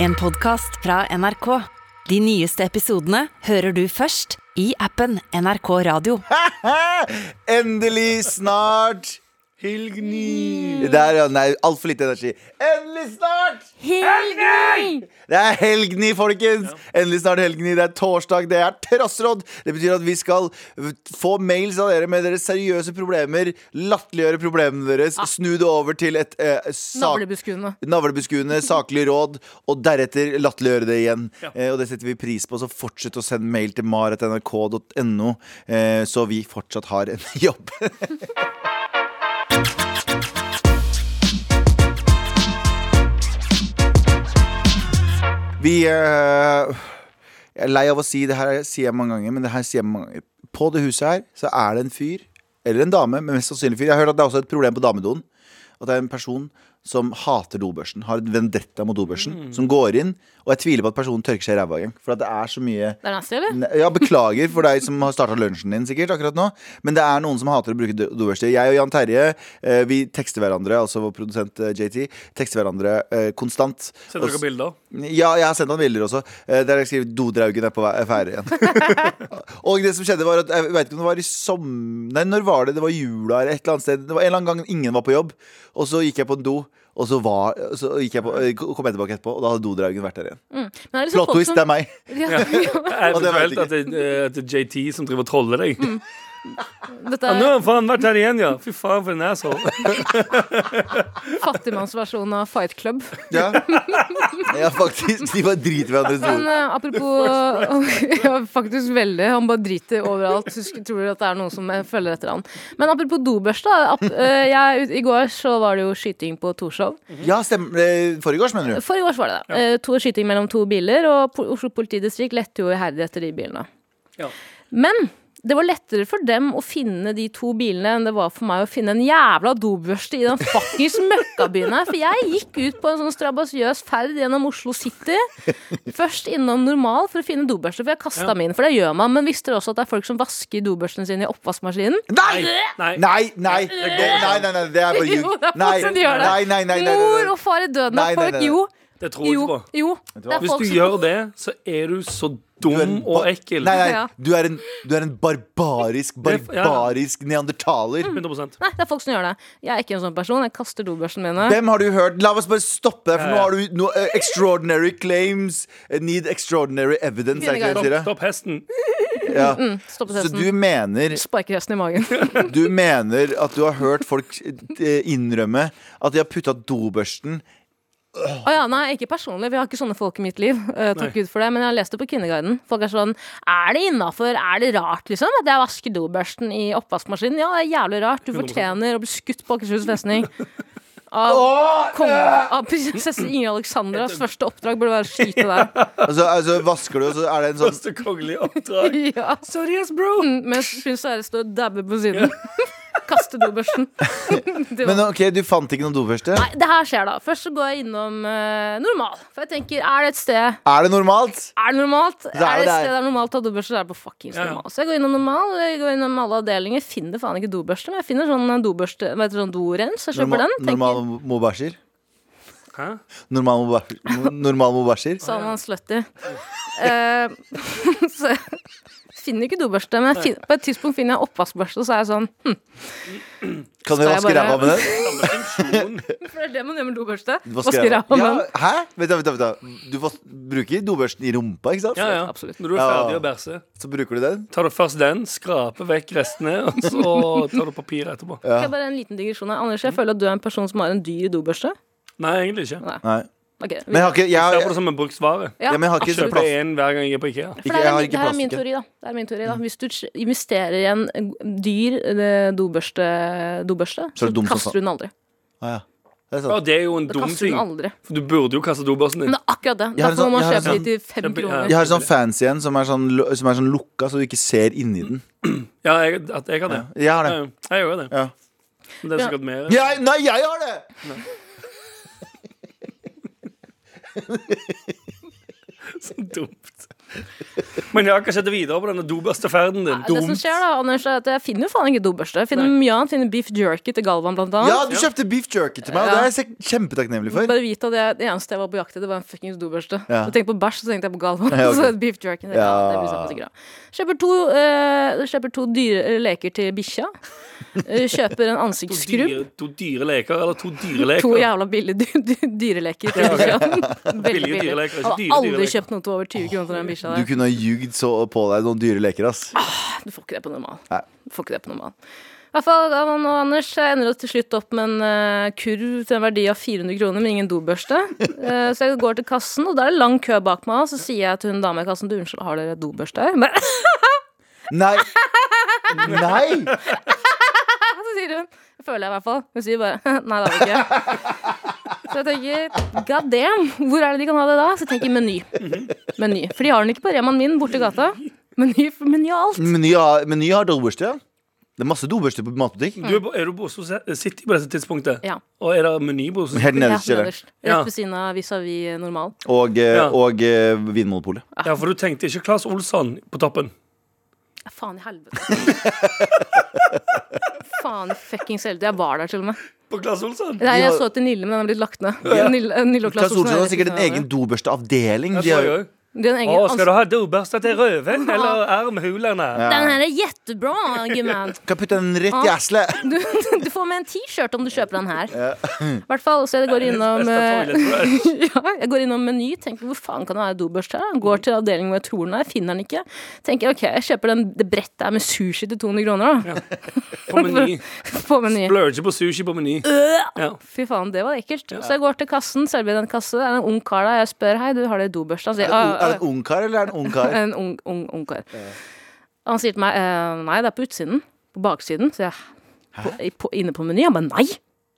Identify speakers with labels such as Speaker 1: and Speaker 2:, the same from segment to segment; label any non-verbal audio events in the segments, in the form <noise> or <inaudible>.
Speaker 1: En podcast fra NRK. De nyeste episodene hører du først i appen NRK Radio.
Speaker 2: Endelig snart Helgni Der, ja, nei, alt for lite energi Endelig snart Helgni Det er helgni, folkens Endelig snart helgni, det er torsdag, det er trassråd Det betyr at vi skal få mails av dere med deres seriøse problemer Latteliggjøre problemene deres Snu det over til et eh, sak
Speaker 3: Navlebeskuende.
Speaker 2: navlebeskuende, saklig råd, og deretter latterliggjøre det igjen. Eh, og det setter vi pris på, så fortsett å sende mail til maratnrk.no, eh, så vi fortsatt har en <laughs> jobb. vi eh, Jeg er lei av å si det her, sier jeg mange ganger, men det her sier jeg mange ganger. På det huset her så er det en fyr, eller en dame, men mest sannsynlig fyr. Jeg har hørt at det er også et problem på damedoen. At det er en person som hater dobørsen, har et vendetta mot dobørsen,
Speaker 3: Mm.
Speaker 2: som går inn, og jeg tviler på at personen tørker seg i ræva engang. For at det er så mye
Speaker 3: Det er nasty, eller?
Speaker 2: Ne- Ja, beklager for deg som har starta lunsjen din sikkert akkurat nå, men det er noen som hater å bruke do- dobørste. Jeg og Jan Terje eh, vi tekster hverandre, altså vår produsent eh, JT, tekster hverandre eh, konstant.
Speaker 4: Send dere
Speaker 2: Og s-
Speaker 4: <laughs> bilder.
Speaker 2: Ja, jeg har sendt han bilder også, eh, der jeg skriver 'Dodraugen er på vei- ferde igjen'. <laughs> og det som skjedde, var at eh, jeg vet ikke om det var i som... Nei, når var det? Det var jula eller et eller annet sted. Det var en eller annen gang ingen var på jobb, og så gikk jeg på en do. Og så, var, så gikk jeg på, eh, kom jeg tilbake etterpå, og da hadde dodraugen vært der igjen.
Speaker 3: Men er det liksom
Speaker 2: Plot
Speaker 3: folk
Speaker 2: twist,
Speaker 3: som-
Speaker 2: det er meg.
Speaker 3: Ja, ja.
Speaker 4: Er
Speaker 2: Og det vet
Speaker 4: det
Speaker 2: Mm.
Speaker 4: eventuelt at det, eh, at det er JT som driver og troller deg?
Speaker 3: Dette
Speaker 4: Ja, nå
Speaker 3: er
Speaker 4: har faen vært her igjen, ja! Fy faen, for en
Speaker 2: <laughs>
Speaker 4: asshole.
Speaker 3: fattigmannsversjonen av Fight Club.
Speaker 2: Ja, <laughs> ja faktisk. De bare driter i hverandres ord.
Speaker 3: Men eh, apropos <laughs> ja, Faktisk veldig. Han bare driter overalt. Husk- Tror du at det er noen som eh, følger etter han. Men apropos dobørste. da, Ap eh, jeg, I går så var det jo skyting på Torshov.
Speaker 2: Ja, stemmer. eh, Forrige års, mener du?
Speaker 3: Forrige år så var det det. Eh, To skyting mellom to biler, og po- Oslo politidistrikt lette jo iherdig etter de bilene.
Speaker 4: Ja.
Speaker 3: Men det var lettere for dem å finne de to bilene enn det var for meg å finne en jævla dobørste i den fuckings møkkabyen her. For jeg gikk ut på en sånn strabasiøs ferd gjennom Oslo City. Først innom normal for å finne dobørste, for jeg kasta min. For det gjør man. Men visste dere også at det er folk som vasker dobørstene sine i oppvaskmaskinen?
Speaker 2: Nei!
Speaker 4: Nei.
Speaker 2: Nei, nei, det
Speaker 4: går
Speaker 2: nei, nei, nei, det er bare ljug.
Speaker 3: <laughs> Jo, det er folk
Speaker 2: Nei,
Speaker 3: som gjør det.
Speaker 2: nei, nei, nei, nei,
Speaker 3: Mor
Speaker 2: nei.
Speaker 3: og far i døden
Speaker 2: Nei, nei,
Speaker 3: av folk.
Speaker 2: nei, nei.
Speaker 3: Jo,
Speaker 4: Det tror jeg ikke
Speaker 3: jo,
Speaker 4: på.
Speaker 3: jo.
Speaker 2: du hva?
Speaker 3: Det er
Speaker 4: Hvis
Speaker 3: folk
Speaker 4: du
Speaker 3: som
Speaker 4: gjør det, så er du så
Speaker 2: Du er en
Speaker 4: dum
Speaker 2: ba-
Speaker 4: og ekkel.
Speaker 2: Nei, nei,
Speaker 3: Ja.
Speaker 2: du er en, du er en barbarisk, barbarisk neandertaler.
Speaker 4: 100
Speaker 3: Nei, det er folk som gjør det. Jeg er ikke en sånn person. Jeg kaster dobørsten mine.
Speaker 2: Hvem har du hørt? La oss bare stoppe der, for
Speaker 4: Ja,
Speaker 2: nå
Speaker 4: ja.
Speaker 2: har du no, eh, extraordinary claims. eh, Need extraordinary evidence, er ikke det
Speaker 4: Stopp,
Speaker 2: de sier?
Speaker 4: stopp hesten.
Speaker 2: Ja.
Speaker 3: Stopp
Speaker 2: Så
Speaker 3: hesten.
Speaker 2: du mener
Speaker 3: Sparker hesten i magen.
Speaker 2: Du mener at du har hørt folk eh, innrømme at de har putta dobørsten
Speaker 3: Å ja, nei, ikke personlig. Vi har ikke sånne folk i mitt liv. eh, takk
Speaker 4: Nei.
Speaker 3: Gud for det. Men jeg har lest det på Kvinneguiden. Folk er sånn Er det innafor? Er det rart, liksom? At jeg vasker dobørsten i oppvaskmaskinen? Ja, det er jævlig rart. Du
Speaker 4: 100%.
Speaker 3: fortjener å bli skutt på Akershus festning. Av, kong, av prinsesse Ingrid Alexandras første oppdrag burde være å skyte deg.
Speaker 2: Altså, altså vasker du, og så er det en sånn
Speaker 4: Første kongelige
Speaker 2: <laughs>
Speaker 4: oppdrag.
Speaker 3: Ja.
Speaker 4: Seriøst, bro!
Speaker 3: Mm, Mens prins Sverre står og dabber på siden. <laughs> Kaste dobørsten. Det var-
Speaker 2: Men ok, du fant ikke noen dobørste?
Speaker 3: Nei, det her skjer da. Først så går jeg innom eh, normal. For jeg tenker, er det et sted Er
Speaker 2: Er det normalt?
Speaker 3: det normalt?
Speaker 2: er
Speaker 3: er
Speaker 2: det
Speaker 3: det et
Speaker 2: der.
Speaker 3: sted det er normalt å ta dobørste, så er det på fuckings
Speaker 4: Ja, ja.
Speaker 3: normal. Så jeg går innom normal, jeg går innom alle avdelinger, finner faen ikke dobørste, men jeg finner sånn eh, dobørste, hva heter det, sånn dorens, jeg kjøper
Speaker 2: Norma-
Speaker 3: den.
Speaker 2: normal
Speaker 3: Tenker,
Speaker 2: mobasher?
Speaker 4: Hæ?
Speaker 2: Normal mobasher? Mo- Normal mobasher?
Speaker 3: sa man "Sånn, slutty. Eh, <laughs> så jeg finner ikke dobørste, men jeg finner, på et tidspunkt finner jeg oppvaskbørste, og så er jeg sånn <laughs> hm,
Speaker 2: Kan vi
Speaker 3: jeg
Speaker 2: vaske
Speaker 3: bare-
Speaker 2: ræva med den?
Speaker 4: Samme funksjon.
Speaker 3: For det er det man gjør med dobørste.
Speaker 2: Vaske
Speaker 3: Vasker
Speaker 2: ræva.
Speaker 3: av med
Speaker 2: Ja,
Speaker 3: den.
Speaker 2: hæ? Vent, da, vent, da, vent. da. Du vas- bruker dobørsten i rumpa, ikke sant?
Speaker 4: Ja, ja.
Speaker 3: Absolutt.
Speaker 4: Når du er
Speaker 2: Ja.
Speaker 4: ferdig å bæsje,
Speaker 2: Så bruker du den?
Speaker 4: tar du først den, skraper vekk restene, og så tar du papiret etterpå.
Speaker 3: Skal jeg Bare en liten digresjon her. Anders, jeg føler at du er en person som har en dyr dobørste.
Speaker 4: Nei, egentlig ikke.
Speaker 2: Nei.
Speaker 3: Ok, vi-
Speaker 2: Men jeg har ikke Jeg,
Speaker 4: Jeg ser på
Speaker 2: har,
Speaker 4: det som en bruksvare.
Speaker 3: Ja,
Speaker 2: ja, men jeg har ikke så
Speaker 3: absolutt.
Speaker 4: Kjøper
Speaker 2: plass.
Speaker 4: én hver gang jeg er på Ikea.
Speaker 2: Ikke-
Speaker 3: For det,
Speaker 2: jeg
Speaker 3: er,
Speaker 2: har
Speaker 3: min-
Speaker 2: ikke
Speaker 3: det her er
Speaker 2: plass,
Speaker 3: min
Speaker 2: ikke.
Speaker 3: teori, da. Det er min teori, da. Hvis du ch- investerer i en g- dyr eh, dobørste, dobørste
Speaker 2: Så er
Speaker 3: så,
Speaker 2: det dum som
Speaker 3: kaster
Speaker 2: faen.
Speaker 3: du den aldri.
Speaker 2: Ah, ja. Det er
Speaker 4: Ja,
Speaker 2: sant.
Speaker 4: det er jo en
Speaker 3: Da
Speaker 4: dum
Speaker 3: kaster du
Speaker 4: ting.
Speaker 3: den aldri.
Speaker 4: For du burde jo kaste dobørsten
Speaker 3: Men
Speaker 4: din.
Speaker 3: det er akkurat det.
Speaker 2: Jeg har en
Speaker 3: Derfor
Speaker 2: sånn-
Speaker 3: må man
Speaker 2: jeg har
Speaker 3: kjøpe
Speaker 2: en
Speaker 3: de til fem
Speaker 4: Kjempe- ja.
Speaker 3: kroner.
Speaker 2: Jeg har en sånn fancy en som er sånn, lu- som er sånn lukka, så du ikke ser inni den.
Speaker 4: Ja, jeg, at jeg har det.
Speaker 2: Jeg har
Speaker 4: Ja,
Speaker 2: det.
Speaker 4: Jeg gjør det.
Speaker 2: Ja.
Speaker 4: Men det er sikkert mer.
Speaker 2: Jeg, nei, jeg har det!
Speaker 4: Så dumt. Men jeg har ikke sett videre på denne dobørsteferden din.
Speaker 3: Det som skjer da, Anders, er at jeg finner jo faen ikke dobørste. Jeg finner mye annet. Finner beef jerky til Galvan, blant annet.
Speaker 2: Ja, du kjøpte beef jerky til meg, og det er jeg sek- kjempetakknemlig for.
Speaker 3: Bare vite at jeg, det eneste jeg var på jakt etter, var en fuckings dobørste.
Speaker 2: Ja.
Speaker 3: Så tenkte jeg på bæsj, så tenkte jeg på Galvan.
Speaker 2: Ja, ok.
Speaker 3: <laughs> Så beef jerky. Ja.
Speaker 2: Ja.
Speaker 3: Det blir sånn sikkert bra. Kjøper to, eh, kjøper to dyre eh, leker
Speaker 4: <laughs>
Speaker 3: til bikkja. Eh, Kjøper en
Speaker 4: To
Speaker 3: ansiktsskrubb.
Speaker 4: dyre, to dyre leker, eller to dyre
Speaker 3: <laughs> To
Speaker 4: leker.
Speaker 3: jævla billige dy- dy- dyreleker til bikkja.
Speaker 4: <laughs>
Speaker 3: Veldig
Speaker 4: Billige
Speaker 3: billig.
Speaker 4: dyreleker, ikke
Speaker 3: Hadde
Speaker 4: dyre
Speaker 3: aldri
Speaker 4: dyreleker.
Speaker 3: kjøpt noe til over 20 kroner til den bikkja
Speaker 2: Du
Speaker 3: der.
Speaker 2: kunne ha ljugd så på deg noen dyre leker, ass.
Speaker 3: Du får ikke det på normal.
Speaker 2: Nei.
Speaker 3: Du får ikke det på normal. I hvert fall Galvan og Anders jeg ender til slutt opp med en eh, kurv til en verdi av 400 kroner, men ingen dobørste. Eh, så jeg går til kassen, og der er det lang kø bak meg, og så sier jeg til hun dama i kassen du, unnskyld, har dere dobørste her? Men
Speaker 2: Nei! Nei!
Speaker 3: så sier hun, det føler jeg i hvert fall, hun sier bare <laughs> nei, det har
Speaker 4: <laughs>
Speaker 3: vi ikke. Så jeg tenker god damn, hvor er det de kan ha det da? Så jeg tenker Meny.
Speaker 4: Mhm.
Speaker 3: Meny. For de har den ikke på Remaen min borte i gata. Meny meny og alt.
Speaker 2: Meny har, meny har dobørste, ja. Det er masse dobørster på matbutikk.
Speaker 4: Du er, på- er du på Oslo Se- City på dette tidspunktet?
Speaker 3: Ja.
Speaker 4: Og er det meny på Oslo City?
Speaker 2: Helt nederst i
Speaker 3: Ja,
Speaker 2: kjelleren.
Speaker 3: nederst.
Speaker 4: Ja.
Speaker 3: Rett ved siden av vis-à-vis normal.
Speaker 2: Og, eh,
Speaker 4: Ja.
Speaker 2: og eh, Vinmonopolet.
Speaker 4: Ja, for du tenkte ikke Claes Olsson på toppen.
Speaker 3: Ja, Faen i
Speaker 2: <laughs>
Speaker 3: helvete. Faen i fuckings helvete. Jeg var der til og med.
Speaker 4: På Claes Olsson?
Speaker 3: Nei,
Speaker 2: har-
Speaker 3: jeg så til Nille, men den er blitt lagt ned. Nille, Nille og Klass
Speaker 2: Klass Olsson har
Speaker 3: er
Speaker 2: sikkert en
Speaker 3: rett ved
Speaker 2: egen dobørsteavdeling.
Speaker 4: liksom, Jeg
Speaker 2: De
Speaker 4: tror
Speaker 2: har,
Speaker 4: jeg også.
Speaker 3: siden av hverandre. De har en egen
Speaker 4: Å, skal du ha dobørste til røven eller armhulene?
Speaker 3: ans- Den her er jettebra, gumman.
Speaker 2: kan putte den rett i æslet.
Speaker 3: Du, du får med en T-skjorte om du kjøper den her. I hvert fall, så jeg går innom eh, <laughs> ja, Jeg går innom Meny, tenker hvor faen kan det være dobørste her? Går til avdelingen hvor jeg tror den er, finner den ikke. Tenker ok, jeg kjøper den, det brettet her med sushi til 200 kroner, da.
Speaker 4: På meny.
Speaker 3: På Meny.
Speaker 4: Splurge på sushi på meny. Ja.
Speaker 3: Fy faen, det var ekkelt. Så jeg går til kassen, selger den kasse. Det er en ung kar der. Jeg spør hei, du har det dobørste. Han sier
Speaker 2: Er det
Speaker 3: «Ah,
Speaker 2: en ungkar, eller er det en
Speaker 3: ah,
Speaker 2: ungkar?
Speaker 3: en ung, ung, ung kar. Han sier til meg «Eh, nei, det er på utsiden. På baksiden. Så jeg på, i- på, inne på Meny. Han bare nei.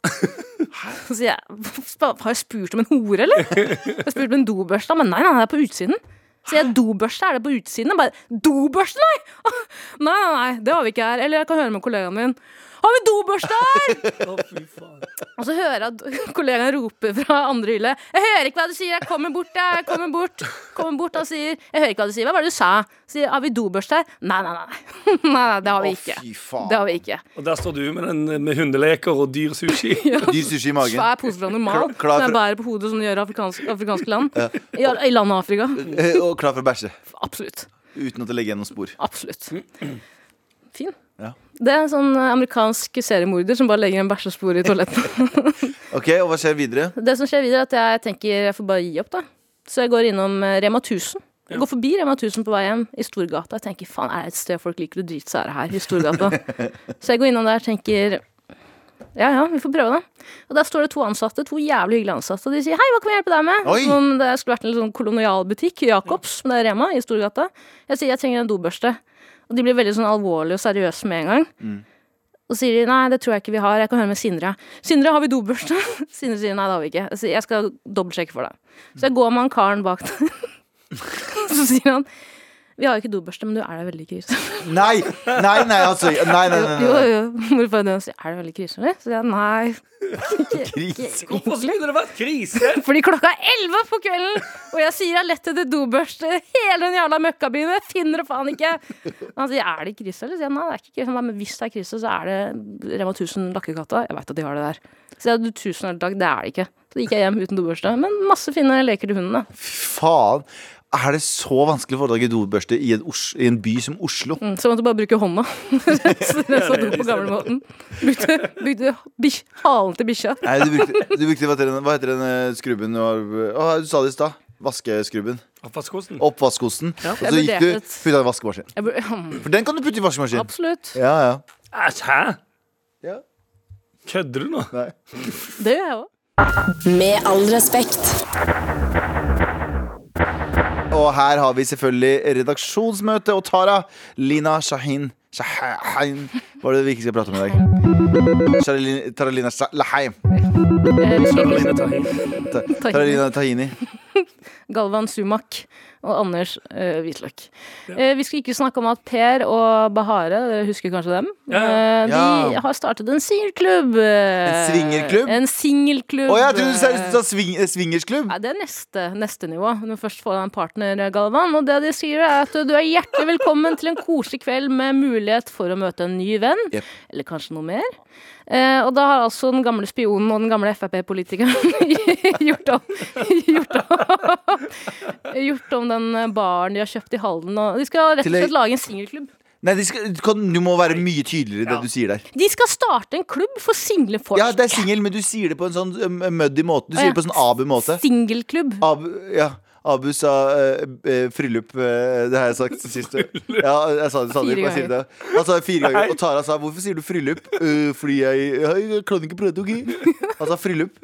Speaker 3: <laughs> Så sier jeg «Hva- har jeg spurt om en hore, eller? Jeg har spurt om en dobørste. Han bare nei, nei, det er på utsiden. Så jeg dobørste, er det på utsiden? Han bare dobørste, nei! <laughs> Nei, nei, nei, det har vi ikke her. Eller jeg kan høre med kollegaen min. Har vi dobørste her?
Speaker 4: Å, fy faen.
Speaker 3: Og så hører jeg at <laughs> kollegaen roper fra andre hylle Jeg hører ikke hva du sier, jeg kommer bort jeg kommer bort, kommer bort og sier Jeg hører ikke hva du sier, hva var det du sa? Sier, har vi dobørste her? Nei, nei, <laughs> nei, nei, nei, det har vi
Speaker 2: Å, fy
Speaker 3: ikke
Speaker 2: faen.
Speaker 3: Det har vi ikke
Speaker 4: Og der står du med, den, med hundeleker og dyr
Speaker 3: <laughs>
Speaker 4: sushi.
Speaker 2: Dyr sushi i magen.
Speaker 3: Svær pose fra normal
Speaker 2: Klar- klar
Speaker 3: Som jeg
Speaker 2: for-
Speaker 3: bærer på hodet som de gjør i afrikansk, afrikanske land I, al- I landet Afrika,
Speaker 2: Eh, <laughs> Og klar for å bæsje.
Speaker 3: absolutt
Speaker 2: Uten at det legger igjen noen spor.
Speaker 3: Absolutt Fin
Speaker 2: Mm. Ja.
Speaker 3: Det er en sånn eh, amerikansk seriemorder Som bare legger en bæsjespor i toaletten
Speaker 2: Ok, Og hva skjer videre?
Speaker 3: Det som skjer videre er at jeg tenker jeg får bare gi opp da Så jeg går innom eh, Rema 1000 Jeg går forbi Rema 1000 på vei hjem i Storgata Jeg tenker, faen er det et sted folk liker å drite seg er det her i Storgata <laughs> Så jeg går innom der og tenker Ja, ja, vi får prøve det Og der står det to ansatte, to jævlig hyggelige ansatte Og de sier, hei, hva kan vi hjelpe deg med?
Speaker 2: Oi.
Speaker 3: Som om det skulle vært en litt sånn kolonialbutikk Jakobs, men det er Rema i Storgata Jeg sier, jeg trenger en dobørste Og de blir veldig sånn alvorlige og seriøse med en gang og så sier de nei, det tror jeg ikke vi har. Jeg kan høre med Sindre. Sindre, har vi dobørste? <laughs> Sindre sier nei, det har vi ikke. Jeg sier jeg skal dobbeltsjekke for deg. Så jeg går med han karen bak der. <laughs> Så sier han vi har ikke dobørste, men du er da veldig krise.
Speaker 2: Nei! Nei, nei, altså. Nei, nei, nei.
Speaker 3: Jo,
Speaker 2: nei.
Speaker 3: jo. <laughs> Morfar din sier er du veldig krise, eller? Så sier jeg nei. <laughs>
Speaker 2: Gris.
Speaker 4: Hvorfor skulle det vært krise?
Speaker 3: Fordi klokka er elleve på kvelden, og jeg sier jeg har lett etter dobørste i hele den jævla møkkabyen, og jeg finner det faen ikke. Og han sier er det krise, eller? Så sier jeg nei, det er ikke krise. Han bare, Men hvis det er krise, så er det Rema 1000 Lakkegata. Jeg veit at de har det der. Så jeg hadde 1000 hele dag, det er det ikke. Så gikk jeg hjem uten dobørste. Men masse fine leker til hunden, da.
Speaker 2: Faen. Er det så vanskelig å få tak i dobørste i en, Os i en by som Oslo?
Speaker 3: Mm, Så jeg måtte bare bruke hånda. <laughs> så det satt opp på gamlemåten. Brukte, brukte bikkj- halen til bikkja.
Speaker 2: Nei, du brukte, du brukte hva, heter den, hva heter den eh, skrubben du har Å, du sa det i stad. Vaskeskrubben.
Speaker 4: Oppvaskkosten.
Speaker 2: Oppvaskkosten. Og så gikk
Speaker 3: Jeg
Speaker 2: du
Speaker 3: vurderte et-
Speaker 2: putta i vaskemaskinen.
Speaker 3: Jeg bur- <laughs> Mm,
Speaker 2: For den kan du putte i vaskemaskinen.
Speaker 3: Absolutt.
Speaker 2: Ja, ja.
Speaker 4: Æsj, hæ?
Speaker 2: Ja.
Speaker 4: Kødder du nå?
Speaker 2: Nei.
Speaker 3: Det gjør jeg òg.
Speaker 1: Med all respekt.
Speaker 2: Og her har vi selvfølgelig redaksjonsmøte og Tara. Lina Shahin Shahin Hva er det vi ikke skal prate om i dag? Sharilin- Tara Lina Sha- Laheim.
Speaker 4: Sørline Tahin.
Speaker 2: Ta- Tara Lina Tahini.
Speaker 3: Galvan Sumak og Anders eh, Wisløck. Eh, vi skal ikke snakke om at Per og Bahare, dere husker kanskje dem?
Speaker 4: Ja,
Speaker 3: Eh, de
Speaker 2: Ja.
Speaker 3: har startet en singelklubb. eh,
Speaker 2: En swingerklubb?
Speaker 3: En singelklubb.
Speaker 2: Å, jeg trodde du seriøst
Speaker 3: eh,
Speaker 2: sa swing, eh, swingersklubb.
Speaker 3: Nei, det er neste, neste nivå. Når du først får deg en partner, Galvan. Og det de sier, er at du er hjertelig velkommen til en koselig kveld med mulighet for å møte en ny venn.
Speaker 2: Jep.
Speaker 3: Eller kanskje noe mer. Eh, og da har altså den gamle spionen og den gamle Frp-politikeren <laughs> gjort om Gjort om, gjort om den baren de har kjøpt i Halden. Og de skal rett og
Speaker 2: Til ei-
Speaker 3: slett lage en singelklubb.
Speaker 2: Nei, de skal, du kan, du må være mye tydeligere i det
Speaker 4: Ja.
Speaker 2: du sier der.
Speaker 3: De skal starte en klubb for single folk.
Speaker 2: Ja, det er singel, men du sier det på en sånn um, muddy måte. Du sier det på en sånn abu-måte.
Speaker 3: Singelklubb.
Speaker 2: Abu, ja, Abu sa eh, eh, fryllup, eh, det har jeg sagt sist. Ja, jeg sa det
Speaker 3: Fire
Speaker 2: Sandeep, jeg sier det. Han sa det fire ganger, og Tara sa 'hvorfor sier du fryllup?' «Øh, fordi jeg, jeg kan ikke prate, OK? Han sa fryllup.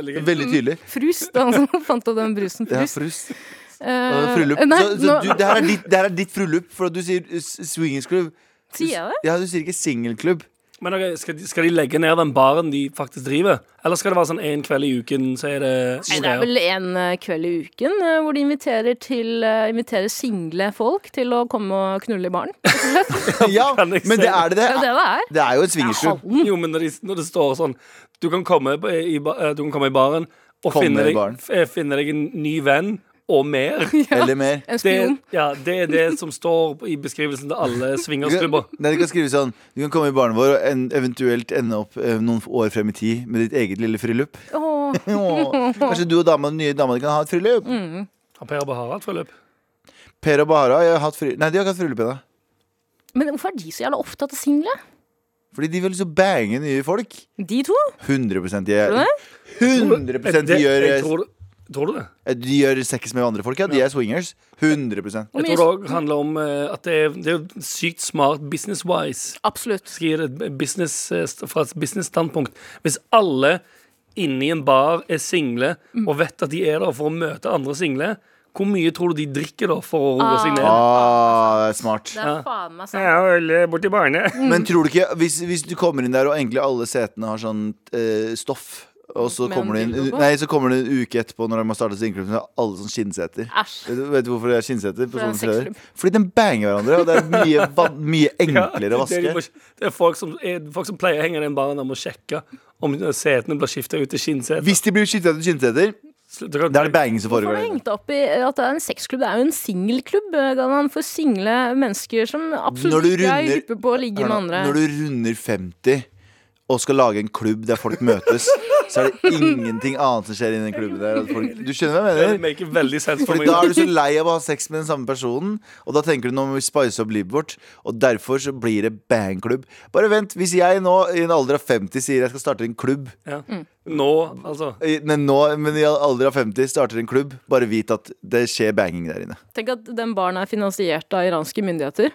Speaker 4: Veldig gøy.
Speaker 2: Veldig tydelig.
Speaker 3: Frust, det er <laughs> han som fant opp den brusen.
Speaker 2: Ja,
Speaker 3: Frust.
Speaker 2: frus.
Speaker 3: Eh,
Speaker 2: Og Fryllup.
Speaker 3: nei,
Speaker 2: så så
Speaker 3: nå-
Speaker 2: du, det, her er ditt, det her er ditt fryllup, for at du sier eh, s- swingersklubb. Du s-
Speaker 3: Sier jeg det?
Speaker 2: Ja, du sier ikke singelklubb.
Speaker 4: Men ok, skal de, skal de legge ned den baren de faktisk driver? Eller skal det være sånn én kveld i uken, så er det
Speaker 3: Nei, det er vel en eh, kveld i uken eh, hvor de inviterer, til, eh, inviterer single folk til å komme og knulle i baren. <laughs> Det
Speaker 2: Ja,
Speaker 4: Kan jeg
Speaker 2: men det er det det.
Speaker 3: er jo det det er.
Speaker 2: Det er jo en swingersklubb.
Speaker 3: Halden.
Speaker 4: Jo, men når, de, når det står sånn Du kan komme på- i, ba- eh, du kan komme i baren og
Speaker 2: Komme
Speaker 4: finne
Speaker 2: i
Speaker 4: deg,
Speaker 2: baren.
Speaker 4: f- eh, finne deg en ny venn og
Speaker 3: <laughs>
Speaker 4: mer.
Speaker 2: Eller mer.
Speaker 3: En
Speaker 4: Det,
Speaker 3: spion.
Speaker 4: ja, det er det som står på- i beskrivelsen til
Speaker 2: <laughs>
Speaker 4: alle swingersklubber.
Speaker 2: Nei, du kan skrive sånn Du kan komme i barnet vår og en, eventuelt ende opp eh, noen år frem i tid med ditt eget lille fryllup.
Speaker 3: Åh,
Speaker 2: Åh, Kanskje du og dama, den nye dama di kan ha et fryllup?
Speaker 4: Har Per Bahar hatt forløp?
Speaker 2: Per og Bahara jeg har hatt fri... Nei, de har ikke hatt fryllup ennå.
Speaker 3: Men hvorfor er de så jævla opptatt av single?
Speaker 2: Fordi de vil så bange nye folk.
Speaker 3: De to?
Speaker 2: 100 de er
Speaker 3: Tror
Speaker 2: 100 de
Speaker 4: Det-
Speaker 2: gjør, eh,
Speaker 4: jeg tror, tror du det?
Speaker 2: de gjør sex med andre folk. Ja, de er swingers. 100
Speaker 4: Jeg
Speaker 3: mye-
Speaker 4: tror det òg handler om eh, at det er, det er jo sykt smart business-wise.
Speaker 3: Absolutt.
Speaker 4: Skal gi det et business, eh, st- fra et business-standpunkt. Hvis alle inni en bar er single og vet at de er der for å møte andre single, hvor mye tror du de drikker da for å roe seg ned?
Speaker 2: Ah, det er smart.
Speaker 3: Det er
Speaker 4: Ja.
Speaker 3: faen meg sant.
Speaker 4: Jeg har øl borti barene.
Speaker 3: Mm.
Speaker 2: Men tror du ikke hvis, hvis du kommer inn der og egentlig alle setene har sånn eh, stoff og så
Speaker 3: Med en
Speaker 2: kommer, det inn,
Speaker 3: dildo på?
Speaker 2: nei, så kommer det en uke etterpå når de har startet sin klubb, så har alle sånn skinnseter.
Speaker 3: Æsj.
Speaker 2: Vet du, vet du hvorfor det er skinnseter? På
Speaker 3: For det er en
Speaker 2: sånne steder?
Speaker 3: sexklubb.
Speaker 2: Fordi de banger hverandre, og det er mye,
Speaker 3: <laughs>
Speaker 2: van- mye enklere å
Speaker 4: det, er de
Speaker 2: vaske.
Speaker 4: må- det er folk som, er, folk som pleier å henge i den baren og må sjekke om setene blir skifta ut til skinnseter.
Speaker 2: Hvis de blir skiftet til skinnseter,
Speaker 4: Da
Speaker 2: da er det banging som
Speaker 3: Hvorfor har
Speaker 2: foregår.
Speaker 3: du
Speaker 2: der.
Speaker 3: hengt deg opp i at det er en sexklubb? Det er jo en singelklubb, eh, Galvan, for single mennesker som
Speaker 2: Når
Speaker 3: absolutt
Speaker 2: du
Speaker 3: ikke er
Speaker 2: runder-
Speaker 3: hyppe på å ligge
Speaker 2: Hør
Speaker 3: med
Speaker 2: nå,
Speaker 3: andre.
Speaker 2: Når du runder 50 og skal lage en klubb der folk møtes, så
Speaker 3: <laughs>
Speaker 2: er det ingenting annet som skjer i den klubben der. at Folk, du skjønner hva jeg
Speaker 4: Det
Speaker 2: mener?
Speaker 4: maker veldig sens for
Speaker 2: Fordi
Speaker 4: meg.
Speaker 2: da er du så lei av å ha sex med den samme personen, og da tenker du nå må vi spice opp livet vårt, og derfor så blir det bangklubb. Bare vent, hvis jeg nå i en alder av 50 sier jeg skal starte en klubb
Speaker 4: Ja. Nå, altså.
Speaker 2: i- nei, nå, men i en alder av 50 starter en klubb, bare vit at det skjer banging der inne.
Speaker 3: Tenk at den baren er finansiert av iranske myndigheter.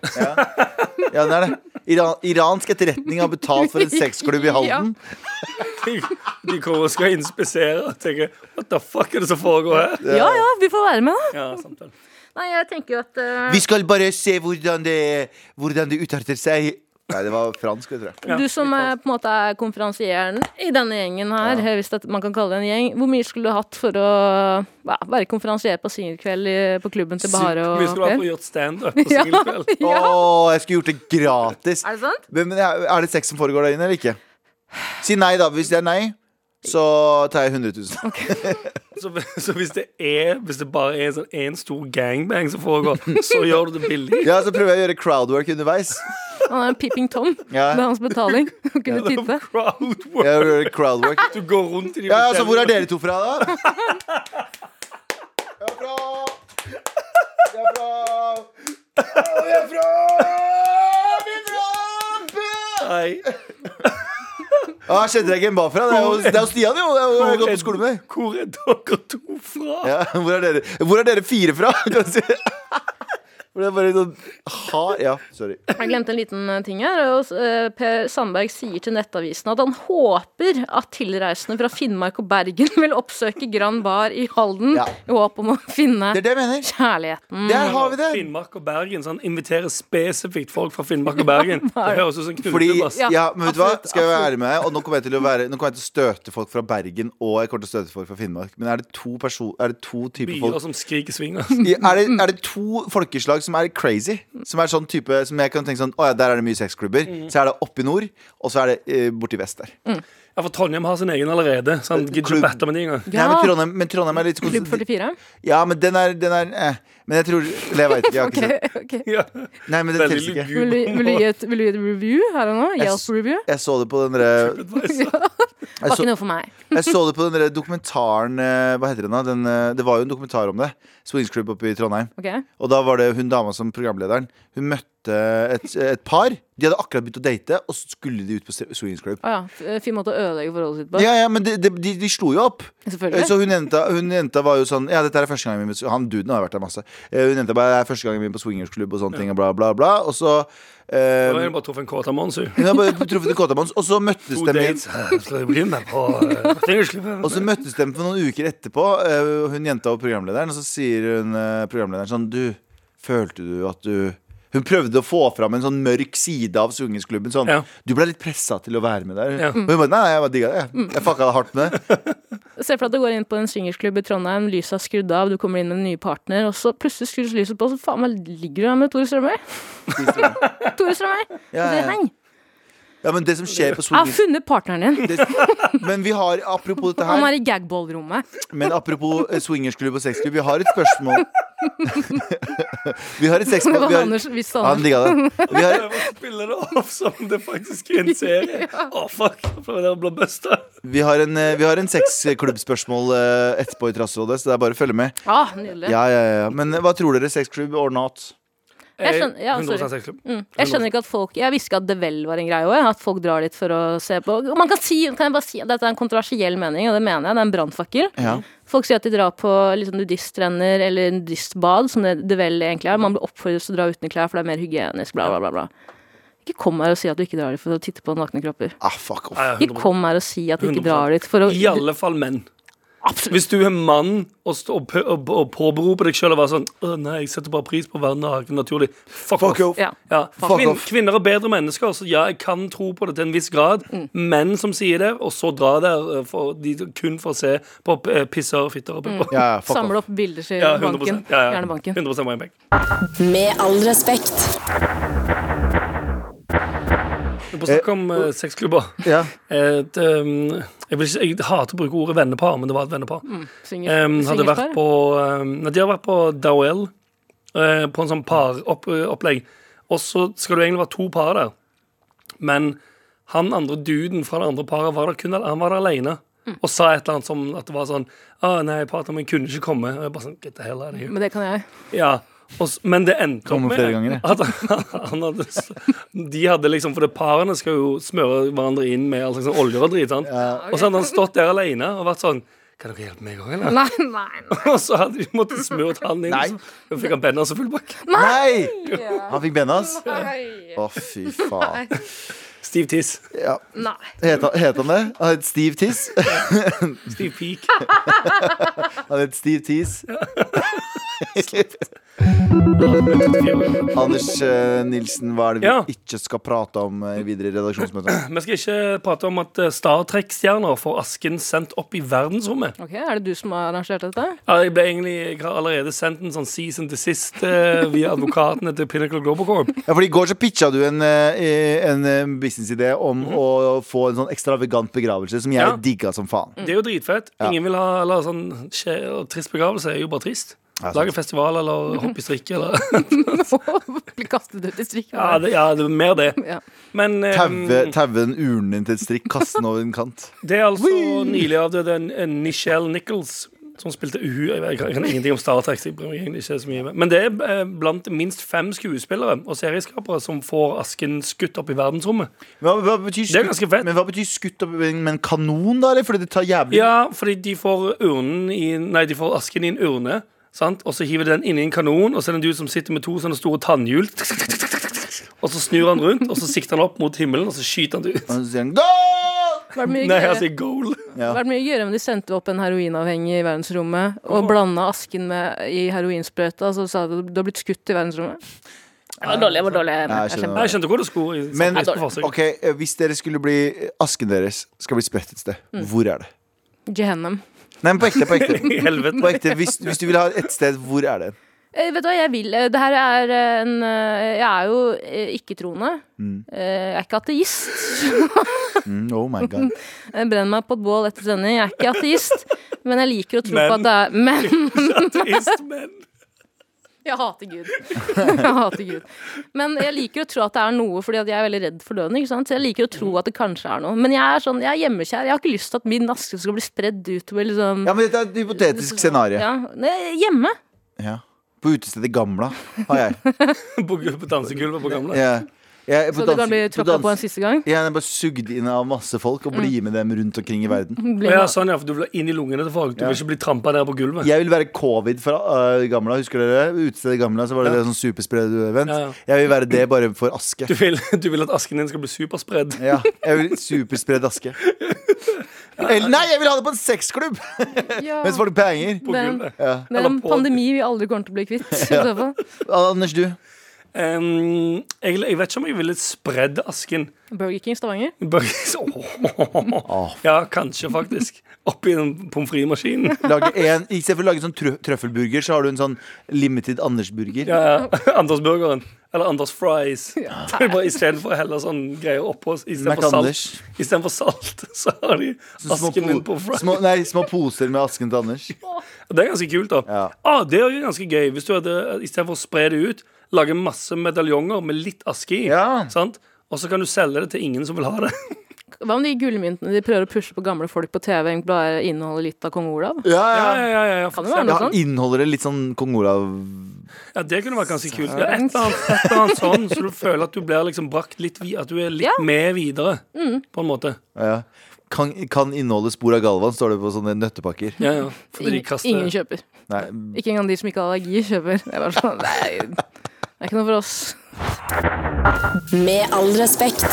Speaker 2: Ja, det er det. Iran, iransk etterretning har betalt for en sexklubb i Halden.
Speaker 4: De kommer og skal inspisere og tenker What the fuck er det som foregår her?
Speaker 3: Ja ja, vi får være med, da.
Speaker 4: Ja, samtale.
Speaker 3: Nei, jeg tenker jo at eh,
Speaker 2: Vi skal bare se hvordan det, hvordan det utarter seg. Nei, det var fransk, jeg tror jeg.
Speaker 4: Ja,
Speaker 3: Du som eh, på en måte er konferansieren i denne gjengen her, hvis det, man kan kalle det en gjeng, hvor mye skulle du hatt for å ja, være konferansier på singelkveld i- på klubben til Bahare og
Speaker 4: Vi skulle ha på
Speaker 3: Per?
Speaker 4: gjort standup på singelkveld.
Speaker 3: Ja.
Speaker 2: Åh, jeg skulle gjort det gratis.
Speaker 3: Er det sant?
Speaker 2: Men, men er er det sex som foregår der inne, eller ikke? Si nei, da. Hvis det er nei, så tar jeg 100 000.
Speaker 4: Så, så hvis det er Hvis det bare er sånn en stor gangbang som foregår, så gjør du det billig.
Speaker 2: <laughs> Ja, så prøver jeg å gjøre crowdwork underveis.
Speaker 3: Han er en Peeping Tom.
Speaker 2: <laughs> Ja.
Speaker 3: Det er hans
Speaker 2: <laughs>
Speaker 3: betaling. Å kunne titte.
Speaker 4: Crowd work.
Speaker 2: Jeg gjør crowdwork
Speaker 4: Du går rundt i de
Speaker 2: Ja, ja, så hvor
Speaker 4: forskjellige-
Speaker 2: er dere to fra, da? Jeg er fra Jeg er fra Jeg er fra Vi er fra Bø!
Speaker 4: Nei.
Speaker 2: Ja, jeg kjente deg ikke en bakfra. Det er jo, det er jo Stian, jo. Det er jo, jeg har gått på eh? skole med deg.
Speaker 4: Hvor er dere to fra?
Speaker 2: Ja, hvor, er dere? hvor er dere fire fra? Kan du si? For det er bare sånn ha, Ja, sorry.
Speaker 3: Jeg glemte en liten eh, ting her. Og, eh, per Sandberg sier til Nettavisen at han håper at tilreisende fra Finnmark og Bergen <laughs> vil oppsøke Grand Bar i Halden
Speaker 2: Ja.
Speaker 3: i håp om å finne
Speaker 2: Det er det jeg mener.
Speaker 3: kjærligheten.
Speaker 2: Der har vi det.
Speaker 4: Finnmark og Bergen. Så han inviterer spesifikt folk fra Finnmark og Bergen. Det høres ut som en
Speaker 2: Fordi,
Speaker 4: knutebass.
Speaker 2: ja,
Speaker 3: Ja,
Speaker 2: men vet du hva,
Speaker 3: absolutt,
Speaker 2: skal jeg være ærlig med deg Og nå kommer jeg til å, være, nå kommer jeg til å støte folk fra Bergen Og jeg kommer til å støte folk fra Finnmark Men er det to, perso- er det to typer folk
Speaker 4: Byer som skriker svinger.
Speaker 2: I- er det, er det to folkeslag som er crazy? Som er sånn type Som jeg kan tenke sånn Å ja, der er det mye sexklubber.
Speaker 4: Mm.
Speaker 2: Så er det oppe i nord, og så er det eh, borti vest der.
Speaker 4: Ja, for Trondheim har sin egen allerede. Så han gidder ikke
Speaker 2: Klubb.
Speaker 4: å batte med de engang.
Speaker 2: Nei, men,
Speaker 3: Ja.
Speaker 2: Trondheim, men Trondheim er litt kons-
Speaker 3: Klubb 44?
Speaker 2: Ja, men den er, den er eh. Men jeg tror Eller jeg veit ikke. Jeg har ikke sett
Speaker 3: ok. <laughs>
Speaker 4: Ja.
Speaker 2: Nei, men det
Speaker 4: Veldig
Speaker 2: telles ikke.
Speaker 3: Vil, du- vil, du gi et, vil du gi et review her og nå?
Speaker 2: Jeg s-
Speaker 3: Yelp-review?
Speaker 2: Jeg så det på den derre
Speaker 4: luguber.
Speaker 2: jeg, så-
Speaker 3: Var ikke noe for meg.
Speaker 2: jeg så det på den der dokumentaren eh, Hva heter den, da? Den, eh, det var jo en dokumentar om det. Swings Club oppe i Trondheim.
Speaker 3: Ok?
Speaker 2: Og da var det hun dama som programlederen. Hun møtte et, et par. De hadde akkurat begynt å date, og så skulle de ut på Swings Club.
Speaker 3: Å ja. f- eh, Fin måte å ødelegge forholdet sitt på.
Speaker 2: Ja, ja, men de, de, de, de slo jo opp. Eh,
Speaker 3: Selvfølgelig.
Speaker 2: Så hun jenta, hun jenta var jo sånn Ja, dette er første gangen min Han duden har vært der masse. Eh, Hun jenta bare det er første gangen min på swingersklubb og sånne ting, og bla, bla, bla. Og så eh,
Speaker 4: Nå har jeg bare truffet en kåt av Monsu.
Speaker 2: Hun har bare truffet en kåtamons, og så møttes
Speaker 4: To
Speaker 2: de igjen.
Speaker 4: dates. eh, Skal jeg bli med på eh, <laughs> Tingersklubben?
Speaker 2: Og så møttes de for noen uker etterpå, eh, hun jenta og programlederen, og så sier hun eh, programlederen sånn Du, følte du at du Hun prøvde å få fram en sånn mørk side av swingersklubben. Sånn
Speaker 4: Ja.
Speaker 2: Du ble litt pressa til å være med der.
Speaker 4: Ja.
Speaker 2: Og hun bare Nei, nei, jeg bare digga det. jeg. Jeg fucka hardt med
Speaker 3: <laughs>
Speaker 2: det.
Speaker 3: Se for deg at du går inn på en swingersklubb i Trondheim, lyset er skrudd av, du kommer inn med en ny partner, og så plutselig skrus lyset på, så faen meg ligger du her med Tore Strømøy. <laughs> Tore Strømøy.
Speaker 2: Ja, ja, ja.
Speaker 3: Hei, jeg
Speaker 2: Ja, men det som skjer på
Speaker 3: har
Speaker 2: swingers...
Speaker 3: funnet partneren din.
Speaker 2: Det, men vi har, apropos dette her
Speaker 3: Han er i gagball-rommet. <laughs>
Speaker 2: Men apropos eh, swingersklubb og sexklubb, vi har et spørsmål. <laughs> vi har et
Speaker 3: Det
Speaker 2: sexspørsmål.
Speaker 3: var
Speaker 2: Vi har,
Speaker 3: Anders, hvis
Speaker 2: han
Speaker 3: Anders.
Speaker 2: digga det. Vi har,
Speaker 4: Prøver å spille det opp som det faktisk er en serie. Å, fuck. Jeg prøver å bli busta.
Speaker 2: vi har en, eh, vi har en sexklubbspørsmål eh, etterpå i Trasserådet, så det er bare å følge med.
Speaker 3: Ah, nydelig.
Speaker 2: Ja, ja, ja. Men eh, hva tror dere? Sexklubb or not?
Speaker 3: Jeg skjønner- ja, sorry.
Speaker 4: 100% sexklubb.
Speaker 3: Mm. Jeg skjønner ikke at folk Jeg visste ikke at The Well var en greie òg. At folk drar dit for å se på. Og man kan si, kan jeg bare si at Dette er en kontroversiell mening, og det mener jeg. Det er en brannfakkel.
Speaker 2: Ja.
Speaker 3: Folk sier at de drar på liksom, nudiststrender eller nudistbad, som det, det vel egentlig er. Man blir oppfordret til å dra uten klær, for det er mer hygienisk, bla, bla, bla. bla. Ikke kom her og si at du ikke drar dit for å titte på nakne kropper.
Speaker 2: Ah, fuck off.
Speaker 4: Nei,
Speaker 3: Ikke
Speaker 4: 100%.
Speaker 3: kom her og si at du ikke
Speaker 4: 100%.
Speaker 3: drar dit for å
Speaker 4: I alle fall menn. Hvis du er mann og, stå- og, pø- og, og påberoper deg sjøl og være sånn Å nei, jeg setter bare pris på å være naken naturlig. Fuck,
Speaker 2: Fuck
Speaker 4: off.
Speaker 2: off.
Speaker 3: Ja.
Speaker 4: Ja.
Speaker 2: Fuck
Speaker 4: Kvin,
Speaker 2: off.
Speaker 4: kvinner er bedre mennesker, så ja, jeg kan tro på det til en viss grad. Menn som sier det, og så dra der eh, for, de, kun for å se på eh, pisser, fitter og pupper. <laughs>
Speaker 2: Ja, ja, fuck
Speaker 3: Samle
Speaker 2: off.
Speaker 3: opp bilder til
Speaker 4: Ja, 100
Speaker 3: banken.
Speaker 4: ja, ja.
Speaker 3: Gjerne banken.
Speaker 4: 100 må jeg meg.
Speaker 1: Med all respekt.
Speaker 4: På snakk om eh, sexklubber.
Speaker 2: Ja.
Speaker 4: Et, ehm, jeg, vil ikke, jeg hater å bruke ordet vennepar, men det var et vennepar.
Speaker 3: Synger,
Speaker 4: Um, hadde
Speaker 3: synger
Speaker 4: vært
Speaker 3: der.
Speaker 4: på um, nei, De har vært på Dowell eh, På en sånn paropplegg opplegg Og så skal det egentlig være to par der Men han andre duden Fra det andre paret var der kun Han var der alene Og sa et eller annet som at det var sånn Å nei, partneren min kunne ikke komme Og jeg bare sånn, get the hell out of here
Speaker 3: Men det kan jeg.
Speaker 4: ja, og, s- men det endte opp
Speaker 2: Kommer
Speaker 4: med
Speaker 2: flere ganger, jeg.
Speaker 4: at <laughs> han, han hadde, s- de hadde liksom, for det parene skal jo smøre hverandre inn med all slags sånn oljer og drit, sant? Og så hadde han stått der alene og vært sånn, kan dere hjelpe meg også, eller?
Speaker 3: <laughs> Nei, nei, nei.
Speaker 4: <laughs> Og så hadde de
Speaker 2: <laughs>
Speaker 4: måttet smurt han inn.
Speaker 2: Nei.
Speaker 4: så- Så fikk han benner så full
Speaker 2: <laughs>
Speaker 4: bak.
Speaker 2: Nei! Han fikk Bennas? Å, fy faen.
Speaker 4: Stiv tiss.
Speaker 2: Ja.
Speaker 3: nei.
Speaker 2: Het, han- het han det? Han het Steve Tiss?
Speaker 4: Stiv pik.
Speaker 2: Han het Steve Tiss. <laughs> Anders eh, Nilsen, hva er det vi
Speaker 4: Ja.
Speaker 2: ikke skal prate om eh, videre i redaksjonsmøtet?
Speaker 4: Vi skal ikke prate om at eh, Star Trek-stjerner får asken sendt opp i verdensrommet.
Speaker 3: Ok, Er det du som har arrangert dette? <laughs>
Speaker 4: Ja, Jeg ble egentlig jeg har allerede sendt en sånn season til sist eh, via advokatene til Pinnacle Global Corp.
Speaker 2: Ja, for I går så pitcha du en, eh, en eh, businessidé om å få en sånn ekstravagant begravelse som jeg
Speaker 4: Mhm. Ja.
Speaker 2: digga som faen.
Speaker 4: Det er jo dritfett. Ingen vil ha eller sånn skje- og trist begravelse. er jo bare trist.
Speaker 2: Ja, sant.
Speaker 4: Lage festival eller hoppe i strikke eller <laughs>
Speaker 3: Bli kastet ut i strikken?
Speaker 4: Ja, det, ja, det er mer det.
Speaker 3: Ja.
Speaker 4: Men eh,
Speaker 2: Taue taue den urnen din til et strikk, kaste den over en kant.
Speaker 4: Det er altså nylig avdøde en- en Nichelle Nichols som spilte uhu Jeg vet- jeg kan ingenting om Star Trek. så jeg bryr meg egentlig ikke så mye. med- Men det er eh, blant minst fem skuespillere og serieskapere som får asken skutt opp i verdensrommet.
Speaker 2: Men hva, hva betyr
Speaker 4: Det er ganske fett.
Speaker 2: Men hva betyr skutt opp med en kanon, da? Eller? Fordi det tar jævlig
Speaker 4: Ja, fordi de får urnen i Nei, de får asken i en urne. sant? Og så hiver de den inn i en kanon, og så er det en dude som sitter med to sånne store tannhjul. Og så snur han rundt, og så sikter han opp mot himmelen, og så skyter han det ut.
Speaker 2: Og så sier han Goal!
Speaker 3: Var det mye
Speaker 4: Nei, altså,
Speaker 3: gøyere?
Speaker 4: jeg sier goal.
Speaker 2: Ja.
Speaker 3: Det var mye gøyere om de sendte opp en heroinavhengig i verdensrommet og blanda asken med, i heroinsprøyta, og så sa de at du har blitt skutt i verdensrommet. Det var dårlig. Jeg var
Speaker 2: Nei,
Speaker 3: dårlig. Jeg
Speaker 2: jeg skjønner.
Speaker 4: Nei, Jeg skjønte hvor det skulle. i-
Speaker 2: Men
Speaker 4: jeg skulle forsøke.
Speaker 2: ok, eh, hvis dere skulle bli asken deres skal bli spredt et sted,
Speaker 4: Mm.
Speaker 2: hvor er det?
Speaker 3: skjønner. Gehennem.
Speaker 2: Nei, men på ekte. På
Speaker 4: <laughs>
Speaker 2: ekte,
Speaker 4: I
Speaker 2: <laughs>
Speaker 4: helvete.
Speaker 2: på ekte hvis, hvis du vil ha et sted, hvor er det?
Speaker 3: Eh, vet du hva jeg vil? Eh, Det her er eh, en eh, Jeg er jo eh, ikke-troende. Eh, Jeg er ikke ateist.
Speaker 2: Mm, oh my
Speaker 4: <laughs>
Speaker 2: god.
Speaker 3: Jeg brenner meg på et bål etter sending. Jeg er ikke
Speaker 2: <laughs>
Speaker 3: ateist, men jeg liker å tro
Speaker 4: Men.
Speaker 3: på at det er Men
Speaker 4: Ateist, men
Speaker 3: jeg hater Gud. Jeg hater Gud. Men jeg liker å tro at det er noe, fordi at jeg er veldig redd for døden. Ikke sant? Så jeg liker å tro at det kanskje er noe. Men jeg er sånn, jeg er hjemmekjær. Jeg har ikke lyst til at min aske skal bli spredd utover liksom
Speaker 2: Ja, men dette er et hypotetisk scenario.
Speaker 3: Ja, nei, hjemme.
Speaker 2: Ja. På utestedet Gamla har jeg.
Speaker 4: <laughs> på, gu- på dansegulvet på gamle.
Speaker 2: Ja. Jeg er på
Speaker 3: Så du kan
Speaker 2: danse-
Speaker 3: bli
Speaker 2: på
Speaker 3: tråkka på en
Speaker 2: dans-
Speaker 3: siste gang.
Speaker 2: Jeg er bare sugd inn av masse folk og bli med dem rundt omkring i verden.
Speaker 4: Å
Speaker 3: <laughs> Blir
Speaker 4: Ja, <laughs>
Speaker 3: man-
Speaker 4: sånn, ja, for du vil inn i lungene til folk. Du vil ikke bli trampa der på gulvet.
Speaker 2: Jeg vil være covid fra øh, Gamla, husker dere? Utestedet Gamla, så var det
Speaker 4: Ja.
Speaker 2: det sånn superspread-event.
Speaker 4: Ja, ja.
Speaker 2: Jeg vil være det bare for aske.
Speaker 4: Du vil, du vil at asken din skal bli superspredd.
Speaker 2: Ja, jeg vil superspredd aske. Eller nei, jeg vil ha det på en sexklubb!
Speaker 3: Ja.
Speaker 2: Mens folk banger.
Speaker 4: på
Speaker 3: Det er en-
Speaker 4: gulvet.
Speaker 2: Ja.
Speaker 3: Det er en
Speaker 4: Eller på-
Speaker 3: pandemi vi aldri kommer til å bli kvitt. i så fall.
Speaker 2: Anders, du?
Speaker 4: Em, jeg, jeg vet ikke om jeg ville spredd asken. <laughs>
Speaker 3: Burger King Stavanger.
Speaker 4: Burgers
Speaker 2: Åh.
Speaker 4: Ja, kanskje, faktisk. Oppi den pommes frites-maskinen.
Speaker 2: Lage en, I stedet for å lage sånn trø trøffelburger, så har du en sånn limited Anders-burger.
Speaker 4: Ja, ja. Anders-burgeren. Eller Anders Fries. Så <laughs> det er bare Istedenfor å helle sånn greier oppå istedenfor salt,
Speaker 2: McAnders.
Speaker 4: i stedet for salt, <laughs> så har de
Speaker 2: Så små
Speaker 4: asken
Speaker 2: po-
Speaker 4: min på fries.
Speaker 2: små, nei, små poser med asken til Anders.
Speaker 4: Det er ganske kult, da.
Speaker 2: Ja.
Speaker 4: Ah, det er jo ganske gøy hvis du hadde, istedenfor å spre det ut, lage masse medaljonger med litt aske i.
Speaker 2: Ja.
Speaker 4: Sant? Og så kan du selge det til ingen som vil ha det.
Speaker 3: Hva om de gullmyntene de prøver å pushe på gamle folk på TV, egentlig bare inneholder litt av kong Olav?
Speaker 2: Ja,
Speaker 4: <laughs> Ja,
Speaker 2: ja,
Speaker 4: ja, ja, ja, for
Speaker 3: Kan det være
Speaker 4: eksempel.
Speaker 3: noe?
Speaker 2: ja.
Speaker 3: sånn?
Speaker 2: Inneholder det litt sånn kong Olav
Speaker 4: ja, det kunne vært ganske kult. Ja, et, eller annet, et eller annet sånn, så du føler at du blir liksom brakt litt vi- At du er litt
Speaker 3: Ja. Mm.
Speaker 4: med videre, på en måte.
Speaker 2: ja. kan, kan inneholde spor av Galvan, står det på sånne nøttepakker.
Speaker 4: Ja, ja. Fordi de
Speaker 3: Ingen,
Speaker 4: kaster
Speaker 3: ingen kjøper.
Speaker 2: Nei,
Speaker 3: Ikke engang de som ikke har allergi, kjøper. Det er bare sånn, nei, det er ikke noe for oss.
Speaker 1: Med all respekt.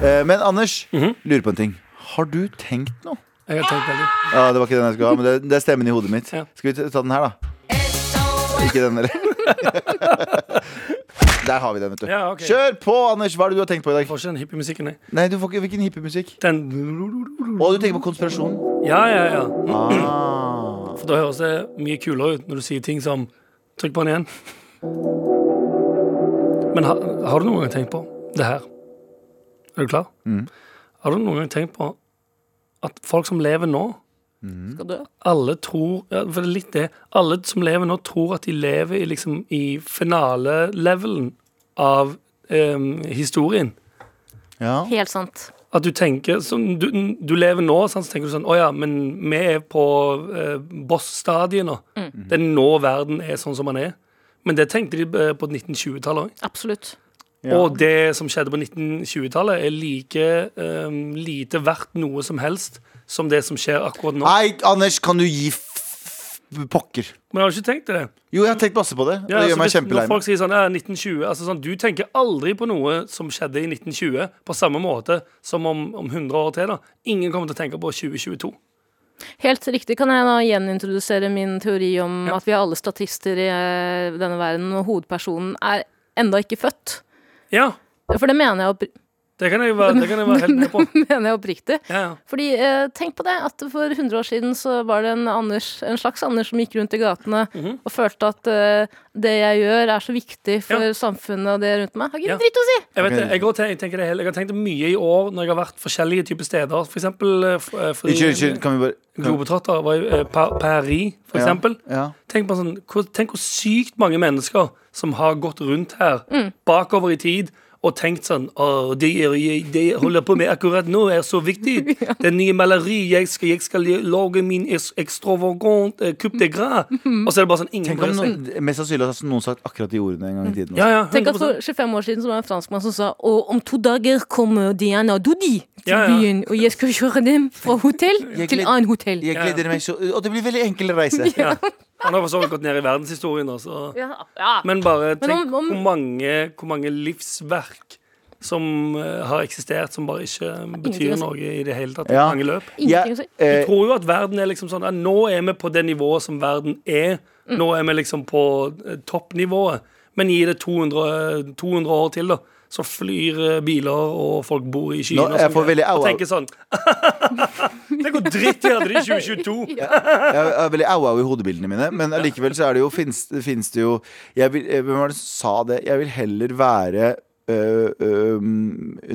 Speaker 2: eh, Men Anders,
Speaker 4: Mhm.
Speaker 2: lurer på en ting. Har du tenkt noe?
Speaker 4: Jeg har tenkt veldig
Speaker 2: Ja, Det var ikke den jeg skulle ha, men det, det er stemmen i hodet mitt.
Speaker 4: Ja.
Speaker 2: Skal vi ta ta den her, da? Ikke den,
Speaker 4: <laughs>
Speaker 2: eller? Der har vi den, vet du.
Speaker 4: Ja, ok.
Speaker 2: Kjør på, Anders! Hva er det du har tenkt på i dag?
Speaker 4: Får ikke den hippiemusikken, jeg.
Speaker 2: Nei, du får ikke Hvilken hippiemusikk?
Speaker 4: Den
Speaker 2: Å, du tenker på konspirasjon?
Speaker 4: Ja, ja, ja.
Speaker 2: Ah.
Speaker 4: For da høres det mye kulere ut når du sier ting som Trykk på den igjen. Men ha, har du noen gang tenkt på det her? Er du klar? Har du noen gang tenkt på at folk som lever nå Mm.
Speaker 3: Skal dø.
Speaker 4: alle tror ja, For det er litt det. Alle som lever nå, tror at de lever i, liksom, i finalelevelen av em, historien.
Speaker 2: Ja.
Speaker 3: Helt sant.
Speaker 4: At du tenker sånn, du, du lever nå, sant, så tenker du sånn Å ja, men vi er på eh, boss-stadiet nå.
Speaker 2: Mhm.
Speaker 4: Det er nå verden er sånn som den er. Men det tenkte de eh, på 1920-tallet òg.
Speaker 3: Absolutt.
Speaker 4: Og det som skjedde på 1920-tallet, er like em, lite verdt noe som helst som det som skjer akkurat nå.
Speaker 2: Nei, Anders, kan du gi f- f- pokker?
Speaker 4: Men har du ikke tenkt det?
Speaker 2: Jo, jeg har tenkt masse på det. og det
Speaker 4: Ja, altså,
Speaker 2: gjør meg
Speaker 4: hvis,
Speaker 2: kjempelei
Speaker 4: når
Speaker 2: meg.
Speaker 4: folk sier sånn, ja, 1920, altså sånn, Du tenker aldri på noe som skjedde i 1920, på samme måte som om, om 100 år til. da Ingen kommer til å tenke på 2022.
Speaker 3: Helt riktig. Kan jeg da gjenintrodusere min teori om at vi er alle statister i eh, denne verden, og hovedpersonen er enda ikke født?
Speaker 4: Ja,
Speaker 3: For det mener jeg, oppri <laughs>
Speaker 4: det kan jeg være, det kan jeg være helt med på.
Speaker 3: mener jeg oppriktig.
Speaker 4: Ja, ja.
Speaker 3: Fordi, eh, tenk på det, at for 100 år siden så var det en, Anders, en slags Anders som gikk rundt i gatene
Speaker 4: Mhm.
Speaker 3: og følte at eh, det jeg gjør er så viktig for
Speaker 4: Ja.
Speaker 3: samfunnet og det rundt meg. Har ikke
Speaker 4: Ja.
Speaker 3: en dritt å si!
Speaker 4: Jeg vet det, jeg, går til, jeg, tenker det hele, jeg har tenkt mye i år når jeg har vært forskjellige typer steder. For eksempel eh, f- eh, fordi-
Speaker 2: Unnskyld, unnskyld, kan vi bare kan,
Speaker 4: Globetrotter var i eh, Pa- Paris, for
Speaker 2: Ja,
Speaker 4: eksempel.
Speaker 2: ja.
Speaker 4: Tenk, på sånn, hvor, tenk hvor sykt mange mennesker som har gått rundt her
Speaker 3: Mm.
Speaker 4: bakover i tid og tenkt sånn Å, det, jeg- det jeg holder på med akkurat nå, er så viktig.
Speaker 3: <laughs>
Speaker 4: Det nye maleri jeg skal, jeg skal lage min es- extravagant eh, coupe de gras.
Speaker 3: Mm.
Speaker 4: Og så er det bare sånn ingen
Speaker 2: Tenk om
Speaker 4: bryr seg.
Speaker 2: noen, Mest sannsynlig har noen sagt akkurat de ordene en gang i tiden.
Speaker 4: Ja, ja,
Speaker 3: Tenk at
Speaker 4: 100%.
Speaker 3: for 25 år siden så var det en franskmann som sa Og om to dager kommer Diana og Dodi til
Speaker 4: Ja, ja.
Speaker 3: byen, og jeg skal kjøre dem fra hotell
Speaker 2: <laughs> Jeg
Speaker 3: til
Speaker 2: gled-
Speaker 3: annet
Speaker 4: <laughs>
Speaker 3: hotell.
Speaker 2: Jeg gleder meg så Og det blir veldig enkel reise.
Speaker 4: Han har for så vidt gått ned i verdenshistorien. da, så-
Speaker 3: Ja, ja.
Speaker 4: Men bare tenk
Speaker 3: om- om-
Speaker 4: Hvor, mange, hvor mange livsverk som eh, har eksistert, som bare ikke betyr
Speaker 3: å si.
Speaker 4: noe i det hele tatt. i
Speaker 2: Ja.
Speaker 4: mange løp.
Speaker 3: Ingenting å si.
Speaker 2: Jeg,
Speaker 4: Jeg
Speaker 2: eh,
Speaker 4: tror jo at verden er liksom sånn ja, Nå er vi på det nivået som verden er. Nå er vi liksom på eh, toppnivået. Men gi det 200, 200 år til, da. Så flyr eh, biler, og folk bor i
Speaker 2: Nå,
Speaker 4: skyene. og
Speaker 2: jeg
Speaker 4: sånn
Speaker 2: får
Speaker 4: greier.
Speaker 2: veldig au,
Speaker 4: og
Speaker 2: au.
Speaker 4: tenker sånn Tenk hvor dritt vi hadde det i 2022!
Speaker 2: jeg er veldig au-au i hodebildene mine, men allikevel så er det jo Fins finnes det jo jeg vil, jeg, Hvem var det som sa det? Jeg vil heller være øh, øh,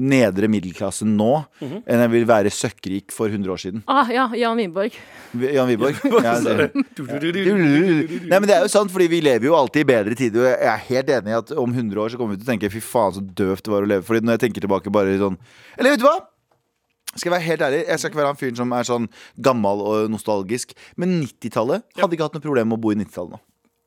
Speaker 2: nedre middelklasse nå
Speaker 4: Mhm.
Speaker 2: enn jeg vil være søkkrik for 100 år siden.
Speaker 3: Ah, ja, Jan Wiborg.
Speaker 2: Jan
Speaker 4: <laughs>
Speaker 2: Wiborg. Ja,
Speaker 4: Så
Speaker 2: det-
Speaker 4: det- du- du- du- du- du-
Speaker 2: Nei, men Det er jo sant, fordi vi lever jo alltid i bedre tider. Og jeg er helt enig i at om 100 år så kommer vi til å tenke fy faen så døvt det var å leve. Fordi når jeg tenker tilbake bare sånn Eller vet du hva? Skal jeg være helt ærlig, jeg skal ikke være han fyren som er sånn gammel og nostalgisk. Men 90-tallet hadde ikke hatt noe problem med å bo i 90-tallet nå.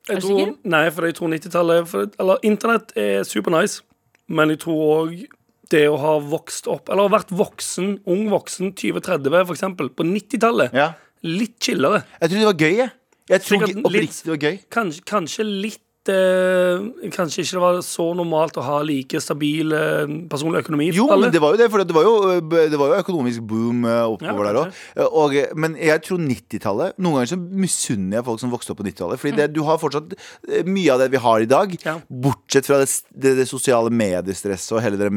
Speaker 4: Jeg
Speaker 3: Er du
Speaker 4: tror,
Speaker 3: sikker?
Speaker 4: nei, for jeg tror 90-tallet for- Eller internett er super nice, men jeg tror òg det å ha vokst opp Eller vært voksen, ung voksen, 20-30 for eksempel, på 90-tallet,
Speaker 2: Ja.
Speaker 4: litt chillere.
Speaker 2: Jeg trodde det var gøy, jeg. Jeg tror
Speaker 4: Sikkert
Speaker 2: ikke-
Speaker 4: litt-
Speaker 2: oppriktig det var gøy.
Speaker 4: Kanskje, kanskje litt eh, Kanskje ikke det var så normalt å ha like stabil eh, personlig økonomi for
Speaker 2: Jo,
Speaker 4: alle.
Speaker 2: men det var jo det, for det var jo, det var jo økonomisk boom eh, oppover
Speaker 4: Ja,
Speaker 2: der òg. Men jeg tror 90-tallet Noen ganger så misunner jeg folk som vokste opp på 90-tallet. Fordi det, du har fortsatt eh, mye av det vi har i dag,
Speaker 4: Ja.
Speaker 2: bortsett fra det, s- det, det sosiale mediestresset og hele det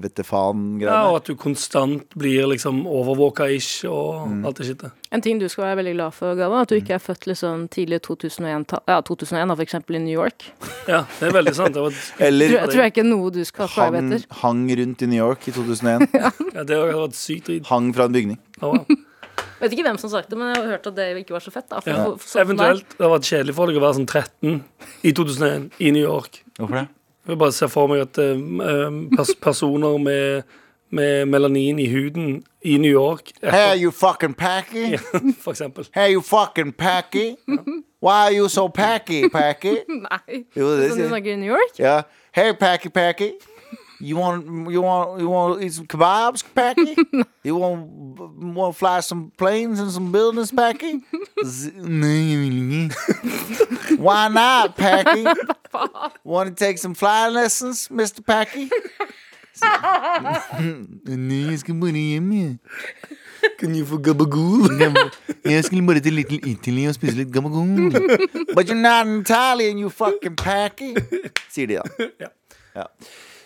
Speaker 2: mediehelvete-faen-greiene.
Speaker 4: ja, og at du konstant blir liksom overvåka-ish og
Speaker 2: Mm.
Speaker 4: alt det skittet.
Speaker 3: En ting du skal være veldig glad for, Gava, at du ikke er født liksom tidlig 2001, ja, 2001 da, for eksempel i New York.
Speaker 4: Ja, det er veldig sant. Det, var,
Speaker 2: Eller
Speaker 3: Tror, tror jeg ikke noe du skal ha
Speaker 2: hang,
Speaker 3: etter.
Speaker 2: hang rundt i New York i 2001.
Speaker 4: ja, det hadde vært sykt drit.
Speaker 2: hang fra en bygning.
Speaker 4: Ja, ja.
Speaker 3: Vet ikke hvem som sa det, men jeg har hørt at det ikke var så fett. da. For-
Speaker 4: Ja.
Speaker 3: for- for- sånn
Speaker 4: Eventuelt det hadde vært kjedelig for deg å være sånn 13 i 2001 i New York.
Speaker 2: Hvorfor det?
Speaker 4: Jeg vil bare se for meg at eh, eh, pers
Speaker 3: <laughs>
Speaker 4: personer med, med melanin i huden i New York
Speaker 2: Hey, you fucking packy!
Speaker 4: <laughs> For eksempel.
Speaker 2: Hey, you fucking packy! Why are you so packy, packy?
Speaker 3: der. Nei.
Speaker 2: Jo, det
Speaker 3: Sånn du
Speaker 2: sier-
Speaker 3: snakker i New York?
Speaker 2: Yeah. Hey, Packy Packy. You want you want you want to eat some kebabs, Packy? you want want to fly some planes and some buildings, Packy? Z- <laughs> Why
Speaker 4: <laughs>
Speaker 2: not, Packy? want to take some flying lessons, Mister Packy?
Speaker 4: <laughs>
Speaker 2: Nei, jeg skal bare hjem, jeg. Kan jeg få gabagool? Jeg skulle bare til Little Italy og spise litt gabagool. But you're not an Italian, you fucking packy. Sier de, da.
Speaker 4: Ja.
Speaker 2: Ja.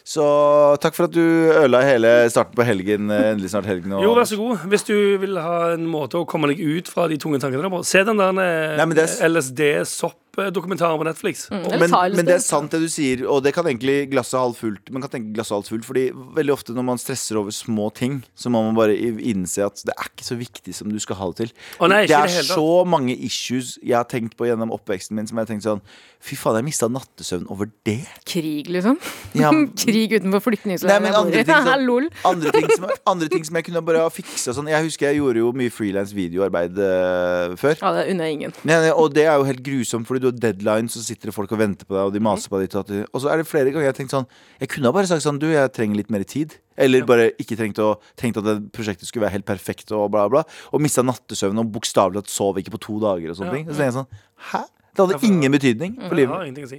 Speaker 2: Så takk for at du ødela hele starten på helgen. eh, Endelig snart helgen. Og...
Speaker 4: Jo, vær så god. Hvis du vil ha en måte å komme deg ut fra de tunge tankene på, se den der eh,
Speaker 2: Nei, men det er-
Speaker 4: LSD-sopp-dokumentaren på Netflix.
Speaker 3: Eller
Speaker 2: men,
Speaker 3: tar det
Speaker 2: men det er
Speaker 3: sted.
Speaker 2: sant det du sier, og det kan egentlig glasset halvt fullt. Man kan tenke glasset halvt fullt, fordi veldig ofte når man stresser over små ting, så må man bare i- innse at det er ikke så viktig som du skal ha det til.
Speaker 4: Å nei, ikke
Speaker 2: det er
Speaker 4: i det hele tatt.
Speaker 2: så mange issues jeg har tenkt på gjennom oppveksten min, som jeg har tenkt sånn Fy faen, jeg mista nattesøvn over det.
Speaker 3: Krig, liksom.
Speaker 4: <laughs>
Speaker 2: Ja,
Speaker 3: <laughs> Krig utenfor
Speaker 2: Nei,
Speaker 3: flyktningsleiren
Speaker 2: men
Speaker 3: jeg bor <laughs>
Speaker 2: andre ting
Speaker 3: i.
Speaker 2: som,
Speaker 3: Lol.
Speaker 2: andre ting som, andre ting som jeg kunne bare ha fiksa sånn. Jeg husker jeg gjorde jo mye frilans videoarbeid eh, før.
Speaker 3: Ja, det unner jeg ingen.
Speaker 2: Nei, nei, og det er jo helt grusomt, fordi du har deadline, så sitter det folk og venter på deg, og de maser på deg. ditt og datt. Og så er det flere ganger jeg har tenkt sånn Jeg kunne ha bare sagt sånn Du, jeg trenger litt mer tid. Eller bare ikke trengt å tenkt at det prosjektet skulle være helt perfekt og bla, bla. Og mista nattesøvnen og bokstavelig talt sov ikke på to dager og sånne
Speaker 4: Ja,
Speaker 2: ting. Så tenker jeg sånn Hæ? Det hadde ingen betydning for
Speaker 4: Jeg
Speaker 2: livet.
Speaker 4: har ingenting å si.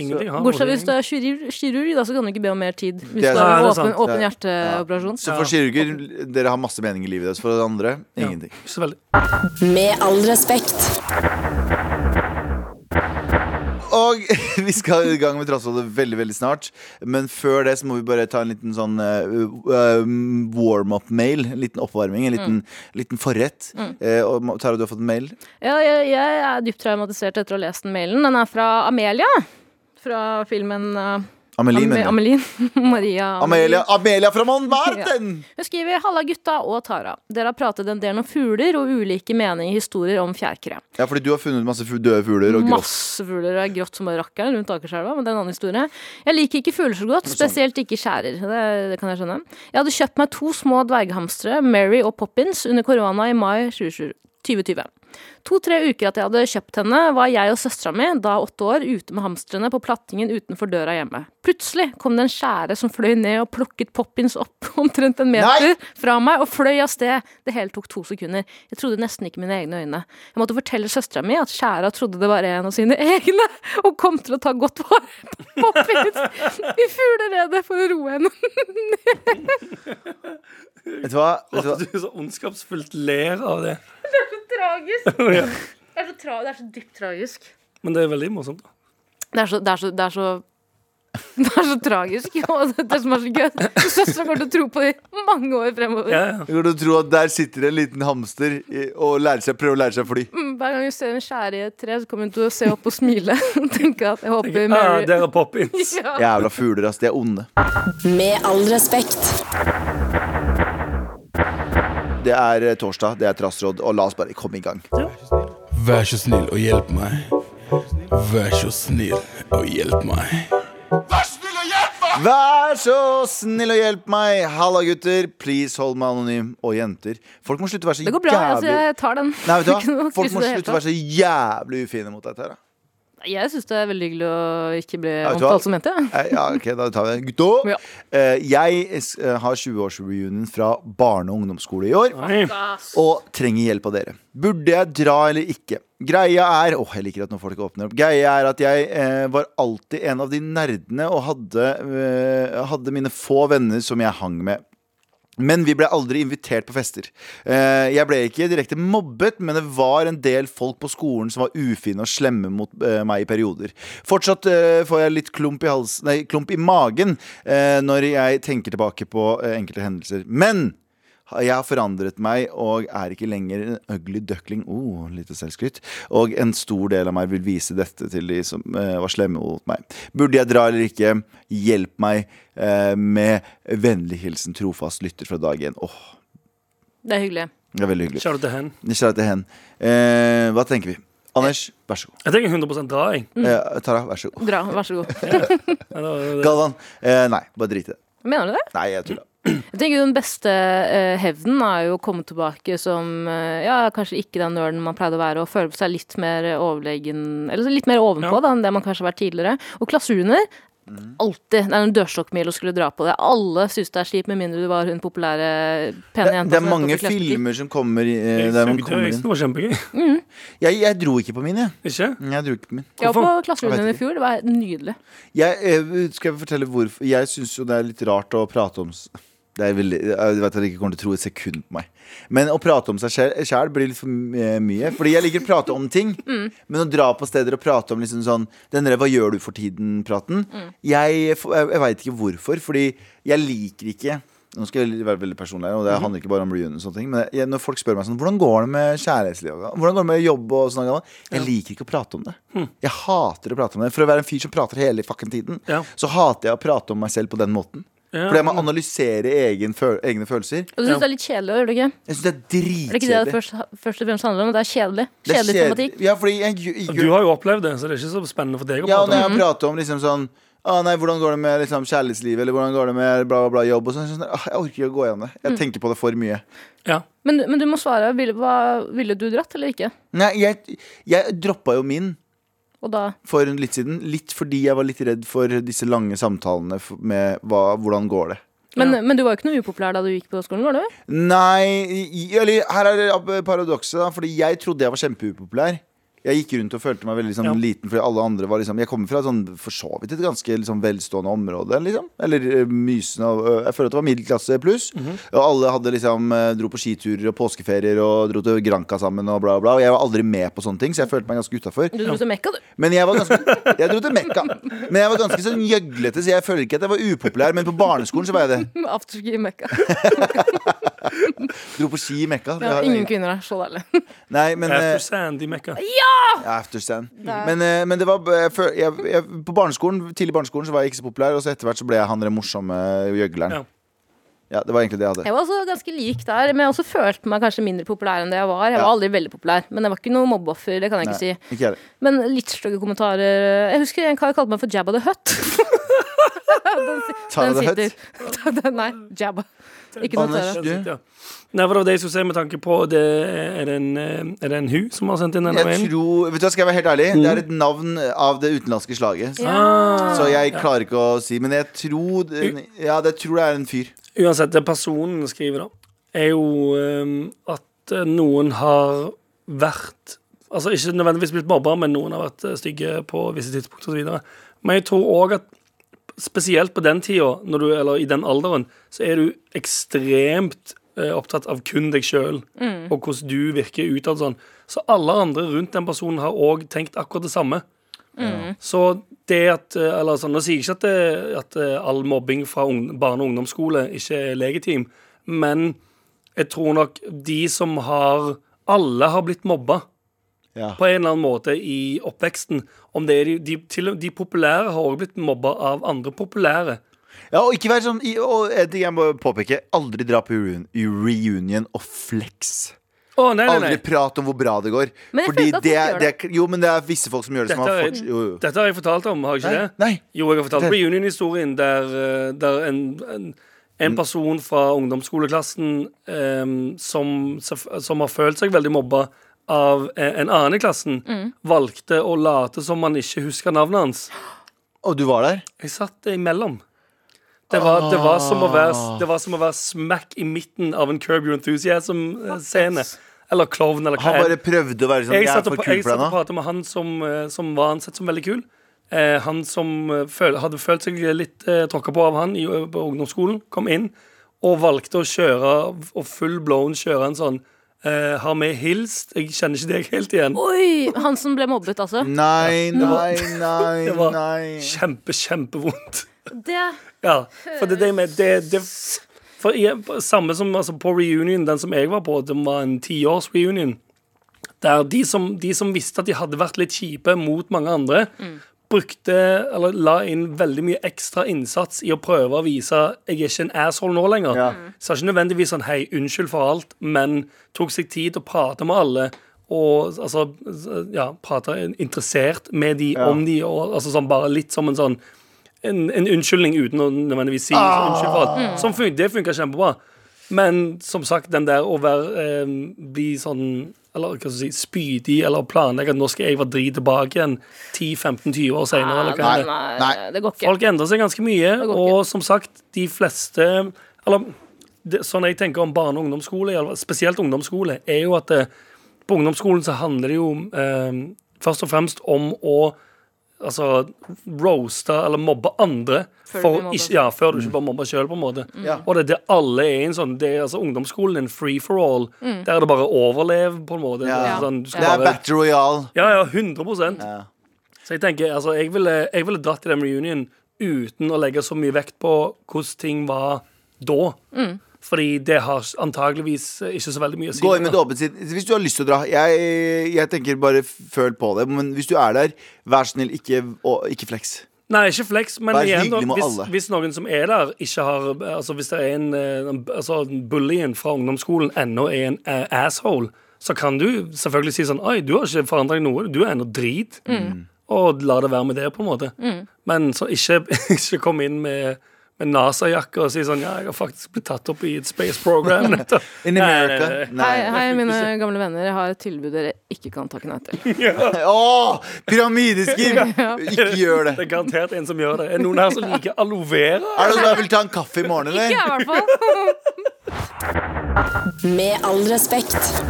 Speaker 4: Ingenting har noe å si,
Speaker 3: Bortsett fra hvis du
Speaker 4: egentlig.
Speaker 3: er kirurg, kirurg, da, så kan du ikke be om mer tid. Hvis
Speaker 2: Det er
Speaker 3: du
Speaker 4: sant. Det
Speaker 3: har åpen,
Speaker 4: er sant.
Speaker 3: åpen
Speaker 2: Ja.
Speaker 3: hjerteoperasjon.
Speaker 2: Så for kirurger, dere har masse mening i livet deres. For det andre, ingenting.
Speaker 4: Ikke så veldig.
Speaker 1: Med all respekt.
Speaker 2: Og <laughs> vi skal i gang med Trassrådet veldig veldig snart. Men før det så må vi bare ta en liten sånn eh, um, warm-up-mail. En liten oppvarming, en
Speaker 3: Mm.
Speaker 2: liten, liten forrett. Eh, og Ma- Tara, du har fått en mail.
Speaker 3: Ja, jeg, jeg er dypt traumatisert etter å ha lest den mailen. Den er fra Amelia. Fra filmen eh,
Speaker 2: Amelie,
Speaker 3: Ame-
Speaker 2: mener jeg.
Speaker 3: Amelie. <laughs> Maria
Speaker 2: Amelia, Amelia fra Montmarten!
Speaker 3: Hun skriver Halla gutta og Tara. Dere har pratet en del om fugler og ulike meninger og historier om fjærkre.
Speaker 2: Ja. fordi du har funnet masse fu- døde fugler og grått.
Speaker 3: Masse fugler og er grått som bare rakkeren rundt Akerselva, men det er en annen historie. Jeg liker ikke fugler så godt,
Speaker 2: Sånn.
Speaker 3: spesielt ikke skjærer. Det, det kan jeg skjønne. Jeg hadde kjøpt meg to små dverghamstere, Mary og Poppins, under korona i mai 2020. To-tre uker etter jeg hadde kjøpt henne, var jeg og søstera mi, da åtte år, ute med hamstrene på plattingen utenfor døra hjemme. Plutselig kom det en skjære som fløy ned og plukket Poppins opp <laughs> omtrent en meter
Speaker 2: Nei!
Speaker 3: fra meg og fløy av sted. Det hele tok to sekunder. Jeg trodde nesten ikke mine egne øyne. Jeg måtte fortelle søstera mi at skjæra trodde det var en av sine <laughs> egne, og kom til å ta godt vare på Poppins i fugleredet for å roe henne
Speaker 2: Vet du hva? Vet du
Speaker 4: At
Speaker 2: hva?
Speaker 4: du så ondskapsfullt ler av
Speaker 3: <laughs>
Speaker 4: det.
Speaker 3: Tragisk.
Speaker 4: <laughs> Ja.
Speaker 3: Det er så, tra det er så dypt tragisk.
Speaker 4: Men det er veldig morsomt. da
Speaker 3: Det er så Det er så, det er så <laughs> det er så tragisk, og <laughs> det er det som er så gøy. Søstera kommer til å tro på det i mange år fremover.
Speaker 4: Ja, ja.
Speaker 2: Jeg går til å tro at der sitter en liten hamster i- og lærer seg, prøver å lære seg å fly.
Speaker 3: Mm, Hver gang hun ser en skjære i et tre, så kommer hun til å se opp og smile. <laughs> Og tenke at jeg håper
Speaker 4: Ah,
Speaker 3: Mary
Speaker 4: der er Poppins.
Speaker 3: <laughs> ja.
Speaker 2: Jævla fugler, ass. De er onde.
Speaker 1: Med all respekt.
Speaker 2: Det er eh, torsdag, det er trassråd, og la oss bare komme i gang.
Speaker 5: Vær så snill og hjelp meg. Vær så snill og hjelp meg.
Speaker 2: Vær så snill og hjelp meg! Halla, gutter. Please hold meg anonym. Og jenter. Folk må slutte å være så
Speaker 3: Det går bra. Altså,
Speaker 2: jævlig
Speaker 3: jeg tar den.
Speaker 2: Nei, vet du
Speaker 3: Ikke
Speaker 2: hva?
Speaker 3: noe
Speaker 2: Folk må
Speaker 3: skryt i det hele
Speaker 2: slutte å være så jævlig ufine mot dette her. da.
Speaker 3: tatt. Jeg syns det er veldig hyggelig å ikke bli
Speaker 2: Ja, vet du hva?
Speaker 3: omtalt som jente.
Speaker 2: Eh, Ja, ok, da tar vi det. Gutta!
Speaker 3: Ja.
Speaker 2: eh, Jeg eh, har 20-årsreunion fra barne- og ungdomsskole i år.
Speaker 4: Nei.
Speaker 2: og trenger hjelp av dere. Burde jeg dra eller ikke? Greia er Åh, jeg liker at når folk åpner opp. Greia er at jeg eh, var alltid en av de nerdene og hadde, eh, hadde mine få venner som jeg hang med. Men vi ble aldri invitert på fester. Eh, Jeg ble ikke direkte mobbet, men det var en del folk på skolen som var ufine og slemme mot eh, meg i perioder. Fortsatt eh, får jeg litt klump i, hals, nei, klump i magen eh, når jeg tenker tilbake på eh, enkelte hendelser. Men jeg har forandret meg og er ikke lenger en ugly duckling. Oh, lite selvskryt. Og en stor del av meg vil vise dette til de som eh, var slemme mot meg. Burde jeg dra eller ikke? Hjelp meg eh, med vennlig hilsen trofast lytter fra dag én. Åh,
Speaker 3: Det er hyggelig.
Speaker 2: det er veldig hyggelig.
Speaker 4: Shout out til hen.
Speaker 2: Kjære til hen. Eh, hva tenker vi? Anders, vær så god.
Speaker 4: Jeg tenker 100 dra, jeg.
Speaker 2: Eh, Tara, vær så god.
Speaker 3: Dra, vær så
Speaker 2: <laughs>
Speaker 3: god.
Speaker 4: Eller,
Speaker 2: Galvan, eh, nei, bare drit i det.
Speaker 3: Mener du det?
Speaker 2: Nei, jeg tulla.
Speaker 3: Jeg tenker Den beste eh, hevnen er jo å komme tilbake som eh, ja, kanskje ikke den nerden man pleide å være, og føle seg litt mer overlegen Eller så litt mer ovenpå
Speaker 4: Ja.
Speaker 3: da, enn det man kanskje har vært tidligere. Og klasserunder
Speaker 2: Mm.
Speaker 3: alltid. Det er en dørstokkmil å skulle dra på det. Alle syns det er kjipt, med mindre du var hun populære,
Speaker 2: Det,
Speaker 3: pene jenta.
Speaker 2: det er
Speaker 3: som nettopp
Speaker 2: mange
Speaker 3: fikk lesbebutikk.
Speaker 2: filmer som kommer, eh,
Speaker 4: Jeg
Speaker 2: der man
Speaker 4: sugde
Speaker 2: kommer
Speaker 4: øysen,
Speaker 2: inn.
Speaker 4: Det var kjempegøy. <laughs>
Speaker 2: Jeg, jeg dro ikke på min, jeg.
Speaker 4: Ikke?
Speaker 2: Jeg dro ikke på min.
Speaker 3: Jeg var på
Speaker 2: Jeg
Speaker 3: klasserunden
Speaker 2: vet
Speaker 3: i fjor. Det var nydelig.
Speaker 2: Jeg, eh, skal jeg fortelle hvorfor Jeg syns jo det er litt rart å prate om s- det er veldig, Jeg vet at dere ikke kommer til å tro et sekund på meg. Men å prate om seg sjæl blir litt for eh, mye. Fordi jeg liker å prate om ting. Men å dra på steder og prate om liksom sånn den der 'hva gjør du for tiden'-praten Jeg, f- jeg, jeg veit ikke hvorfor. Fordi jeg liker ikke nå skal jeg være veldig personlig, her, og det handler ikke bare om reunion og sånne ting. Men jeg, når folk spør meg sånn Hvordan går det med kjærlighetslivet? Hvordan går det med jobb og sånn? Jeg liker ikke å prate om det. Jeg hater å prate om det. For å være en fyr som prater hele fucking tiden,
Speaker 4: Ja.
Speaker 2: så hater jeg å prate om meg selv på den måten.
Speaker 4: Ja.
Speaker 2: Fordi jeg må analysere egen føl egne følelser.
Speaker 3: Og du syns
Speaker 4: Ja.
Speaker 3: det er litt kjedelig, gjør du ikke?
Speaker 2: Jeg syns det er
Speaker 3: Er det ikke det det
Speaker 2: dritkjedelig.
Speaker 3: først, først og fremst handler om? Det er kjedelig.
Speaker 2: Det er
Speaker 3: Kjedelig
Speaker 2: kjedelig.
Speaker 3: tematikk.
Speaker 2: Ja, fordi jeg, jeg,
Speaker 4: Du har jo opplevd det, så det er ikke så spennende for deg å
Speaker 2: Ja, og når
Speaker 4: prate om.
Speaker 2: jeg prater om liksom sånn ah, nei, Hvordan går det med liksom, kjærlighetslivet, eller hvordan går det med bla, bla, bla, jobb og sånn, sånn ah, Jeg orker ikke å gå gjennom det.
Speaker 3: Mm.
Speaker 2: Jeg tenker på det for mye.
Speaker 4: Ja.
Speaker 3: Men, men du må svare. Ville, hva, ville du dratt, eller ikke?
Speaker 2: Nei, jeg, jeg droppa jo min
Speaker 3: Og da
Speaker 2: for litt siden. Litt fordi jeg var litt redd for disse lange samtalene f- med hva, hvordan går det.
Speaker 3: Men,
Speaker 4: Ja.
Speaker 3: men du var jo ikke noe upopulær da du gikk på skolen, var du?
Speaker 2: Nei, i- eller her er det paradokset, da. Fordi jeg trodde jeg var kjempeupopulær. Jeg gikk rundt og følte meg veldig liksom,
Speaker 4: Ja.
Speaker 2: liten fordi alle andre var liksom Jeg kommer fra sånn, for så vidt et ganske liksom, velstående område, liksom. Eller eh, mysende og, eh, Jeg føler at det var middelklasse pluss.
Speaker 3: Mhm.
Speaker 2: Og alle hadde liksom eh, dro på skiturer og påskeferier og dro til Granca sammen og bla, bla. Og jeg var aldri med på sånne ting, så jeg følte meg ganske utafor.
Speaker 3: Du dro til Mekka, <laughs> du.
Speaker 2: Men jeg var ganske Jeg dro til Mekka. Men jeg var ganske sånn gjøglete, så jeg føler ikke at jeg var upopulær. Men på barneskolen så var jeg det.
Speaker 3: Afterski i Mekka.
Speaker 2: Dro på ski i
Speaker 3: <laughs>
Speaker 2: Mekka.
Speaker 3: Ja, ingen kvinner der. Så deilig.
Speaker 2: Nei, men eh,
Speaker 4: After Sand i Mekka.
Speaker 2: Ja, Afterstand. Men, eh, men det var jeg, føl- jeg, jeg, på barneskolen tidlig barneskolen så var jeg ikke så populær, og så etter hvert så ble jeg han der morsomme eh, gjøgleren.
Speaker 4: Ja.
Speaker 2: Ja, det var egentlig det jeg hadde.
Speaker 3: <laughs> Jeg var også ganske lik der, men jeg også følte meg kanskje mindre populær enn det jeg var. Jeg var
Speaker 2: Ja.
Speaker 3: aldri veldig populær, men jeg var ikke noe mobbeoffer, det kan jeg
Speaker 2: Nei,
Speaker 3: ikke si.
Speaker 2: ikke jeg.
Speaker 3: <laughs> Men litt stygge kommentarer. Jeg husker en kar kalte meg for Jabba the Hutt.
Speaker 2: Tara the Hutt.
Speaker 3: sitter. <laughs> Ta den- Nei, Jabba. Ikke noe
Speaker 2: Anders,
Speaker 3: Tara.
Speaker 2: du?
Speaker 4: Ja. Nei, for det var det jeg skulle si med tanke på det, Er det en, eh, er Mm. det en hu som har sendt inn denne
Speaker 2: Jeg
Speaker 4: mailen?
Speaker 2: tror, vet du hva, Skal jeg være helt ærlig? Det er et navn av det utenlandske slaget.
Speaker 4: Ah,
Speaker 2: Så jeg klarer ikke å si Men jeg tror det- Ja, det tror jeg er en fyr.
Speaker 4: uansett, det personen skriver da, er jo eh, at eh, noen har vært Altså ikke nødvendigvis blitt mobba, men noen har vært eh, stygge på visse tidspunkt og så videre Men jeg tror òg at spesielt på den tida, når du, eller i den alderen, så er du ekstremt eh, opptatt av kun deg sjøl og hvordan du virker utad sånn. Så alle andre rundt den personen har òg tenkt akkurat det samme. Så det at eh, eller sånn, Nå sier jeg ikke at, det, at eh, all mobbing fra ung, barne- og ungdomsskole ikke er legitim, men jeg tror nok de som har Alle har blitt mobba
Speaker 2: Ja.
Speaker 4: på en eller annen måte i oppveksten. Om det er de, de, til, og- de populære har også blitt mobba av andre populære.
Speaker 2: Ja, og ikke vær sånn i- Og en ting jeg må påpeke. Aldri dra på reun- i reunion og flex.
Speaker 4: Å, nei, nei, nei.
Speaker 2: Aldri prat om hvor bra det går.
Speaker 3: Men jeg føler
Speaker 2: det
Speaker 3: at folk
Speaker 2: er,
Speaker 3: gjør
Speaker 2: det er, jo, men det er visse folk som gjør det. Som
Speaker 4: Dette
Speaker 2: har
Speaker 4: er-
Speaker 2: forts- jo, jo.
Speaker 4: Dette har jeg fortalt om, har jeg ikke
Speaker 2: Nei,
Speaker 4: det?
Speaker 2: nei.
Speaker 4: Jo, jeg har fortalt
Speaker 2: Det-
Speaker 4: reunion-historien der, eh, der en, en,
Speaker 2: Mm.
Speaker 4: en person fra ungdomsskoleklassen em, som, selvf- som har følt seg veldig mobba av eh, en annen i klassen, valgte å late som man ikke husker navnet hans.
Speaker 2: Og du var der?
Speaker 4: Jeg satt imellom. Det var, det, var som å være, det var som å være smack i midten av en Curb Your Enthusiasm-scene. Eller klovn, eller hva
Speaker 2: Han bare prøvde å være sånn Jeg
Speaker 4: jeg
Speaker 2: er
Speaker 4: satt og,
Speaker 2: for
Speaker 4: pa-
Speaker 2: kul
Speaker 4: jeg
Speaker 2: for
Speaker 4: satt
Speaker 2: deg
Speaker 4: og
Speaker 2: nå.
Speaker 4: pratet med han som, eh, som var ansett som veldig kul. Eh, han som eh, føl, hadde følt seg litt eh, tråkka på av han i, på ungdomsskolen, kom inn og valgte å kjøre og full blown kjøre en sånn eh, Har vi hilst? Jeg kjenner ikke deg helt igjen.
Speaker 3: Oi! Han som ble mobbet, altså.
Speaker 2: Nei, nei,
Speaker 4: <laughs> Det
Speaker 2: nei,
Speaker 4: var
Speaker 2: nei.
Speaker 4: kjempe, kjempevondt.
Speaker 3: Det
Speaker 4: Ja, for det er det med det, det for jeg, Samme som altså, på reunion, den som jeg var på, den var en tiårs reunion. Der de som, de som visste at de hadde vært litt kjipe mot mange andre, brukte eller la inn veldig mye ekstra innsats i å prøve å vise jeg er ikke en asshole nå lenger.
Speaker 2: Ja. Mm.
Speaker 4: Sa ikke nødvendigvis sånn hei, unnskyld for alt, men tok seg tid til å prate med alle. Og altså, ja, prate interessert med de om de, og altså sånn bare litt som en sånn en, en unnskyldning uten å nødvendigvis si unnskyld for alt. Som fun det funka kjempebra. Men som sagt, den der å være eh, bli sånn eller hva skal jeg si, spydig eller planlegge at nå skal jeg være drit tilbake igjen 10-15-20 år senere. Eller hva
Speaker 3: Ah, nei,
Speaker 4: det er.
Speaker 3: nei,
Speaker 2: Nei.
Speaker 3: det går ikke.
Speaker 4: Folk endrer seg ganske mye,
Speaker 3: går ikke.
Speaker 4: og som sagt, de fleste Eller det, sånn jeg tenker om barne- og ungdomsskole, eller spesielt ungdomsskole, er jo at eh, på ungdomsskolen så handler det jo eh, først og fremst om å Altså roaste eller mobbe andre
Speaker 3: Før
Speaker 4: for
Speaker 3: du blir mobbet. Mm.
Speaker 4: ikke, ja, før du ikke bare mobber sjøl, på en måte.
Speaker 2: Ja.
Speaker 4: Og det er det alle er i en sånn Det er altså ungdomsskolen en free for all.
Speaker 3: Mm.
Speaker 4: Der er det bare overlev, på en måte.
Speaker 2: Ja.
Speaker 4: Sånn, du
Speaker 2: Det
Speaker 4: skal
Speaker 2: er
Speaker 4: bare,
Speaker 2: Battle Royale.
Speaker 4: ja, ja, 100
Speaker 2: Ja.
Speaker 4: så jeg tenker, altså, jeg ville, jeg ville dratt i den reunion uten å legge så mye vekt på hvordan ting var da. Fordi det har antageligvis ikke så veldig mye å si.
Speaker 2: Gå inn med det åpent sinn. Hvis du har lyst til å dra. Jeg, jeg tenker bare føl på det. Men hvis du er der, vær så snill, ikke, å, ikke flex.
Speaker 4: Nei, ikke flex, men
Speaker 2: Vær
Speaker 4: igjen, da,
Speaker 2: hyggelig med
Speaker 4: hvis,
Speaker 2: alle.
Speaker 4: hvis noen som er der, ikke har Altså hvis det er en, eh, en- altså, bullyen fra ungdomsskolen ennå er en eh, asshole, så kan du selvfølgelig si sånn Oi, du har ikke forandra deg noe. Du er ennå drit. Og la det være med det, på en måte. Men så ikke, <laughs> ikke kom inn med med NASA-jakke og si sånn Ja, jeg har faktisk blitt tatt opp i et space program. nettopp."
Speaker 2: In
Speaker 4: Nei, nei,
Speaker 2: America.
Speaker 4: nei, nei.
Speaker 2: Nei.
Speaker 3: Hei, hei, mine gamle venner. Jeg har et tilbud dere ikke kan takke nei <laughs> til.
Speaker 2: Åh, pyramideskim!
Speaker 3: <laughs>
Speaker 2: Ikke gjør
Speaker 4: Det
Speaker 2: det.
Speaker 4: er garantert en som gjør det. Er det noen her som liker aloe vera?
Speaker 2: Er det noen som vil ta en kaffe i morgen,
Speaker 3: Ikke jeg,
Speaker 2: eller?
Speaker 3: i hvert <laughs> fall.
Speaker 6: Med all respekt.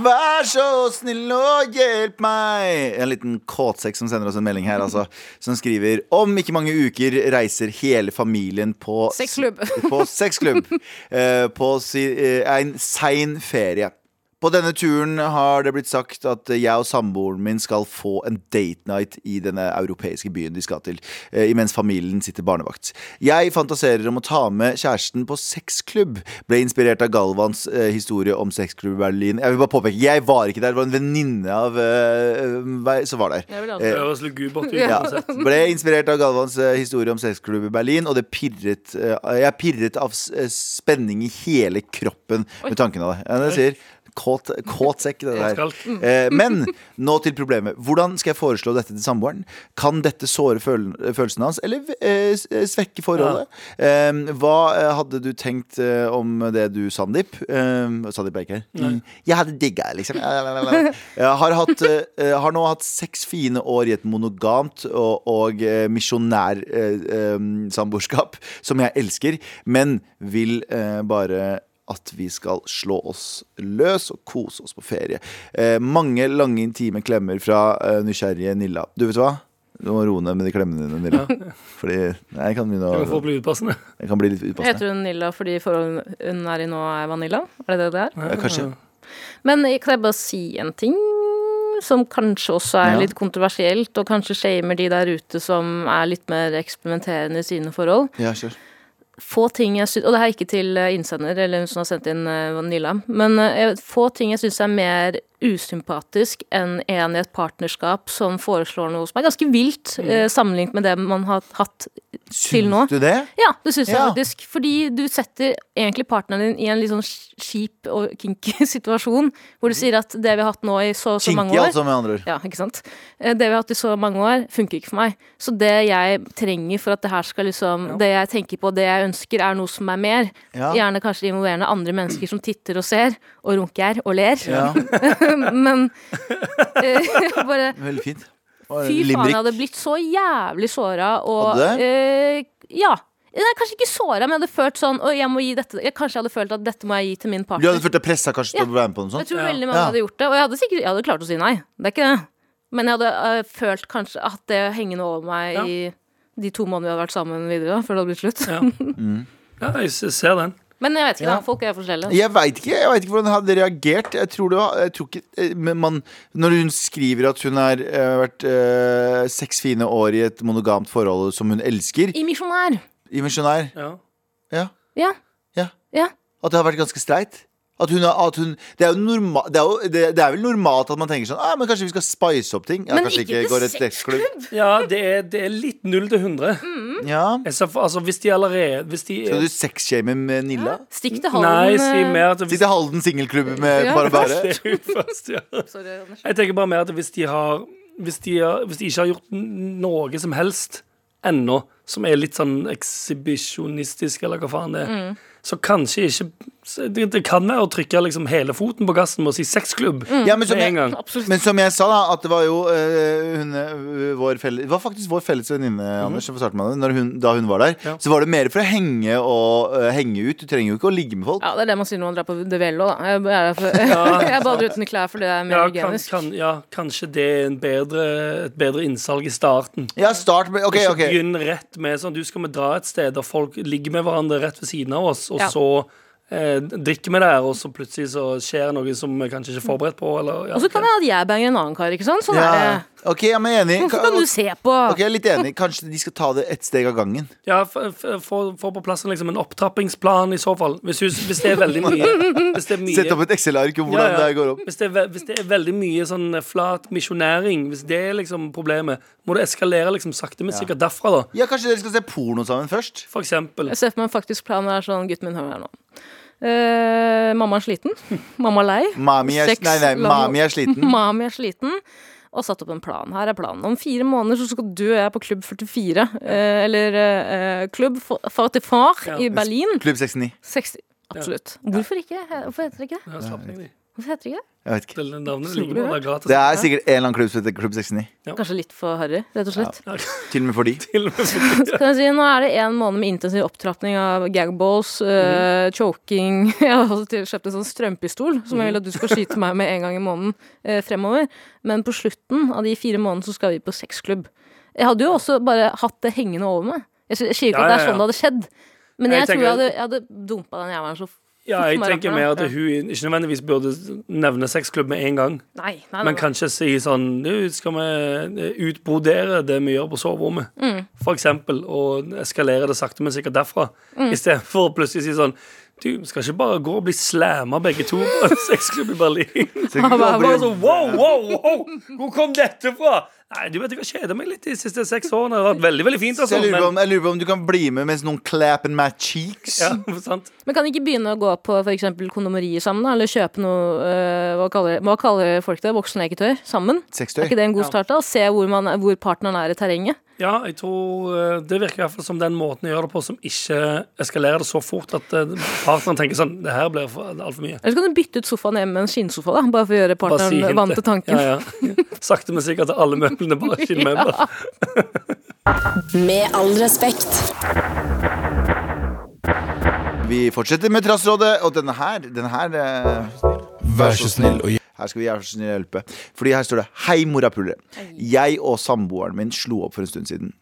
Speaker 2: Vær så snill og hjelp meg! En liten kåtsekk som sender oss en melding her, altså. Som skriver om ikke mange uker reiser hele familien på
Speaker 3: Sexklubb.
Speaker 2: på sexklubb. eh, på si, eh, en sein ferie. På denne turen har det blitt sagt at jeg og samboeren min skal få en date night i denne europeiske byen de skal til, eh, imens familien sitter barnevakt. Jeg fantaserer om å ta med kjæresten på sexklubb. Ble inspirert av Galvans eh, historie om sexklubb i Berlin. Jeg vil bare påpeke, jeg var ikke der, det var en venninne av eh, meg som var der.
Speaker 3: Jeg
Speaker 4: Det
Speaker 3: vil alltid-
Speaker 4: høres lugubert ut.
Speaker 2: Ja.
Speaker 4: uansett.
Speaker 2: Ble inspirert av Galvans eh, historie om sexklubb i Berlin, og det pirret eh, Jeg pirret av s- eh, spenning i hele kroppen med tanken av det. Ja, det sier kåt, kåt sekk, det der.
Speaker 4: Kåt kalt.
Speaker 2: Eh, men nå til problemet. Hvordan skal jeg foreslå dette til samboeren? Kan dette såre føl følelsene hans, eller eh, s- eh, svekke forholdet? Eh, hva eh, hadde du tenkt eh, om det du, Sandeep? Eh, Sandeep er ikke her. Mm. Jeg hadde digga, liksom. Jeg har, hatt, eh, har nå hatt seks fine år i et monogamt og, og eh, misjonær eh, eh, samboerskap, som jeg elsker, men vil eh, bare at vi skal slå oss løs og kose oss på ferie. Eh, mange lange, intime klemmer fra eh, nysgjerrige Nilla. Du vet hva? Du må roe ned med de klemmene dine, Nilla. Fordi nei, jeg kan begynne
Speaker 4: Det får
Speaker 2: å
Speaker 4: bli utpassende.
Speaker 2: Jeg kan bli litt utpassende.
Speaker 3: Heter hun Nilla fordi forholdet hun er i nå, er Vanilla? Er det det det er?
Speaker 2: Ja, kanskje.
Speaker 3: Men jeg- kan jeg bare si en ting som kanskje også er
Speaker 2: Ja.
Speaker 3: litt kontroversielt, og kanskje shamer de der ute som er litt mer eksperimenterende i sine forhold?
Speaker 2: Ja, kjør.
Speaker 3: få ting jeg syns Og det her er ikke til eh, innsender eller hun som har sendt inn eh, Vanilla, men eh, jeg vet- få ting jeg syns er mer usympatisk enn en i et partnerskap som foreslår noe som er ganske vilt eh, sammenlignet med det man har hatt til nå.
Speaker 2: Syns du det?
Speaker 3: Ja, det syns jeg
Speaker 2: Ja.
Speaker 3: faktisk. Fordi du setter egentlig partneren din i en litt sånn sk- kjip og kinky <laughs> situasjon, hvor du sier at det vi har hatt nå i så og så mange
Speaker 2: Kinky,
Speaker 3: år
Speaker 2: altså, med andre ord.
Speaker 3: ja, ikke sant? Eh, Det vi har hatt i så mange år, funker ikke for meg. Så det jeg trenger for at det her skal liksom Det jeg tenker på, det jeg ønsker, er noe som er mer.
Speaker 2: Ja.
Speaker 3: Gjerne kanskje involverende andre mennesker som titter og ser, og runker og ler.
Speaker 2: Ja,
Speaker 3: <laughs> Men eh, <laughs> bare
Speaker 2: Veldig fint. Og
Speaker 3: <laughs> Fy faen,
Speaker 2: Eh, limerick.
Speaker 3: jeg hadde blitt så jævlig såra og
Speaker 2: Hadde du?
Speaker 3: eh, Ja. Nei, kanskje ikke såra, men jeg hadde følt sånn «Oi, jeg må gi dette, jeg, Kanskje jeg hadde følt at dette må jeg gi til min
Speaker 2: Du
Speaker 3: partner.
Speaker 2: hadde følt deg pressa kanskje til å være med på noe
Speaker 3: Jeg
Speaker 2: sånt?
Speaker 3: tror
Speaker 4: Ja.
Speaker 3: veldig mange
Speaker 2: Ja.
Speaker 3: hadde gjort det. Og jeg hadde sikkert jeg hadde klart å si nei. Det er ikke det. Men jeg hadde øh, følt kanskje at det hengende over meg
Speaker 4: Ja.
Speaker 3: i de to månedene vi hadde vært sammen videre, da, før det hadde blitt slutt.
Speaker 4: Ja. ja, jeg s- ser den.
Speaker 3: Men jeg vet ikke,
Speaker 2: Ja.
Speaker 3: da. Folk er forskjellige.
Speaker 2: Jeg veit ikke, jeg vet ikke hvordan jeg hadde reagert. Jeg tror det var, jeg tror ikke, eh, men man, når hun skriver at hun har eh, vært eh, seks fine år i et monogamt forhold som hun elsker,
Speaker 3: I misjonær.
Speaker 2: i misjonær
Speaker 4: Ja.
Speaker 2: ja,
Speaker 3: Ja.
Speaker 2: ja,
Speaker 3: Ja.
Speaker 2: At det har vært ganske streit. At hun, har- at hun, det, er jo norma, det, er jo, det, det er vel normalt at man tenker sånn ah, men Kanskje vi skal spice opp ting? Ja,
Speaker 3: Men
Speaker 2: kanskje
Speaker 3: ikke til
Speaker 2: går et sexklubb.
Speaker 4: Ja, det er, det er litt null til 100.
Speaker 2: Ja.
Speaker 4: Jeg ser for, altså, hvis de allerede hvis de,
Speaker 2: Skal du sexshame med Nilla?
Speaker 3: Stikk til
Speaker 4: Nei,
Speaker 3: Halden.
Speaker 4: si
Speaker 3: øh,
Speaker 4: mer at hvis,
Speaker 2: Sitte i Halden singelklubb med
Speaker 3: Ja.
Speaker 2: bare bare?
Speaker 4: <laughs> det er jo først, ja.
Speaker 3: Sorry, Anders.
Speaker 4: Jeg tenker bare mer at hvis de har Hvis de, har, hvis de ikke har gjort n- noe som helst ennå, som er litt sånn ekshibisjonistisk, eller hva faen det er, så kanskje ikke så det, det kan være å trykke liksom hele foten på gassen med å si sexklubb
Speaker 2: Ja, men som
Speaker 4: med
Speaker 2: jeg-
Speaker 4: en gang.
Speaker 3: Absolutt.
Speaker 2: Men som jeg sa, da, at det var jo eh, hun, eh, vår felles, Det var faktisk vår felles venninne, Anders, som fortalte meg det. Når hun, da hun var der,
Speaker 4: Mhm. Ja.
Speaker 2: så var det mer for å henge og eh, henge ut. Du trenger jo ikke å ligge med folk.
Speaker 3: Ja, det er det man sier når man drar på De Vello, da. Jeg, er der
Speaker 4: <laughs>
Speaker 3: for, <laughs> jeg bader uten klær, for det er mer
Speaker 4: Ja, kan,
Speaker 3: hygienisk.
Speaker 4: kan, ja, kanskje det er en bedre, et bedre innsalg i starten.
Speaker 2: Ja, start med OK,
Speaker 4: Ikke
Speaker 2: OK.
Speaker 4: begynn rett med sånn Du skal vi dra et sted der folk ligger med hverandre rett ved siden av oss, og
Speaker 3: Ja.
Speaker 4: så eh, drikker vi der, og så plutselig så skjer noe som vi kanskje ikke er forberedt på, eller ja.
Speaker 3: Og så kan det hende at jeg banger en annen kar, ikke sant? Sånn
Speaker 2: Ja,
Speaker 3: er det.
Speaker 2: OK, jeg er enig.
Speaker 3: Hvorfor kan du se på?
Speaker 2: Ok, jeg er litt enig. Kanskje de skal ta det ett steg av gangen.
Speaker 4: Ja, f- f- få få på plass en, liksom, en opptrappingsplan i så fall. Hvis, hun- hvis det er veldig
Speaker 2: <laughs>
Speaker 4: mye. Hvis det er mye.
Speaker 2: Sette opp et Excel-ark om
Speaker 4: Ja,
Speaker 2: hvordan
Speaker 4: ja.
Speaker 2: det her går opp.
Speaker 4: Hvis det, er, ve- hvis det er veldig mye sånn eh, flat misjonæring, hvis det er liksom problemet, må det eskalere liksom sakte, men sikkert derfra, da.
Speaker 2: Ja, Kanskje dere skal se porno sammen først?
Speaker 4: For eksempel.
Speaker 3: Jeg ser for meg en faktisk plan er sånn Gutten min, hør her nå. Eh, mamma er sliten. Mamma er lei.
Speaker 2: Mami er,
Speaker 3: Sex,
Speaker 2: nei, nei,
Speaker 3: la-
Speaker 2: mami er
Speaker 4: Mm.
Speaker 2: sliten.
Speaker 3: Mami er sliten. Og satt opp en plan. Her er planen. Om fire måneder så skal du og jeg på Klubb 44. eh, eller eh, Klubb 44
Speaker 4: Ja.
Speaker 3: i Berlin.
Speaker 2: Klubb 69.
Speaker 3: 60. Absolutt. Hvorfor ikke? Hvorfor heter det ikke det?
Speaker 4: Ja, slapp ned, de.
Speaker 3: Hvorfor heter det ikke det?
Speaker 2: Jeg vet ikke.
Speaker 4: Det navnet ligger på, det er gratis.
Speaker 2: Det er sikkert en eller annen klubb som heter Klubb 69.
Speaker 3: Kanskje litt for harry, rett og slett.
Speaker 2: Til og med for de.
Speaker 4: Til og med-
Speaker 3: <laughs> Kan jeg si, nå er det en måned med intensiv opptrapping av gagballs, eh,
Speaker 4: Mm.
Speaker 3: choking <laughs> Jeg har også til- kjøpt en sånn strømpistol som jeg vil at du skal skyte meg med en gang i måneden eh, fremover. Men på slutten av de fire månedene så skal vi på sexklubb. Jeg hadde jo også bare hatt det hengende over meg. Jeg sy- jeg sier ikke
Speaker 4: Ja,
Speaker 3: at det er
Speaker 4: ja, ja.
Speaker 3: sånn det hadde skjedd, men
Speaker 4: Jeg
Speaker 3: jeg, tror jeg
Speaker 4: tenker-
Speaker 3: hadde, jeg hadde dumpa den jævelen så
Speaker 4: Ja, jeg
Speaker 3: fort som
Speaker 4: tenker
Speaker 3: rakkeren.
Speaker 4: mer at hun ikke nødvendigvis burde nevne sexklubb med en gang,
Speaker 3: Nei, nei, nei,
Speaker 4: men
Speaker 3: nei.
Speaker 4: kanskje si sånn Nå skal vi eh, utbrodere det vi gjør på soverommet, for eksempel, og eskalere det sakte, men sikkert derfra, istedenfor å plutselig si sånn Du, vi skal ikke bare gå og bli slamma begge to på en sexklubb i Berlin. <laughs>
Speaker 2: Så ikke
Speaker 4: Og bare
Speaker 2: jobber
Speaker 4: sånn, wow, wow, wow, hvor kom dette fra? Nei, du vet, jeg har kjeda meg litt de siste seks årene. Det har vært veldig, veldig fint.
Speaker 2: Så
Speaker 4: Altså,
Speaker 2: jeg lurer, på
Speaker 4: men,
Speaker 2: om, jeg lurer på om du kan bli med mens noen clap in my cheeks.
Speaker 4: ja, <laughs> sant?
Speaker 3: Men kan ikke begynne å gå på for eksempel kondomerier sammen, da? Eller kjøpe noe øh, hva, kaller, hva kaller folk det? Voksenleketøy? Sammen?
Speaker 2: Sextøy.
Speaker 3: Er ikke det en god start, da? Se hvor, man, er- hvor partneren er i terrenget.
Speaker 4: ja, jeg tror eh, det virker i hvert fall som den måten jeg gjør det på, som ikke eskalerer det så fort at eh, partneren tenker sånn Det her blir for- altfor mye.
Speaker 3: Eller så kan du bytte ut sofaen hjemme med en skinnsofa, da. Bare for å gjøre
Speaker 4: Bare si
Speaker 3: partneren
Speaker 4: hintet.
Speaker 3: vant til tanken.
Speaker 4: Ja, <laughs> ja. Sakte, men sikkert. Alle møblene
Speaker 3: <laughs>
Speaker 4: bare skinnmøbler.
Speaker 6: Med all respekt.
Speaker 2: Vi fortsetter med Trassrådet, og denne her, denne her eh,
Speaker 5: Vær så snill og hjelp
Speaker 2: Her skal vi være så snill å hjelpe. Fordi her står det Hei, morapulere. Jeg og samboeren min slo opp for en stund siden.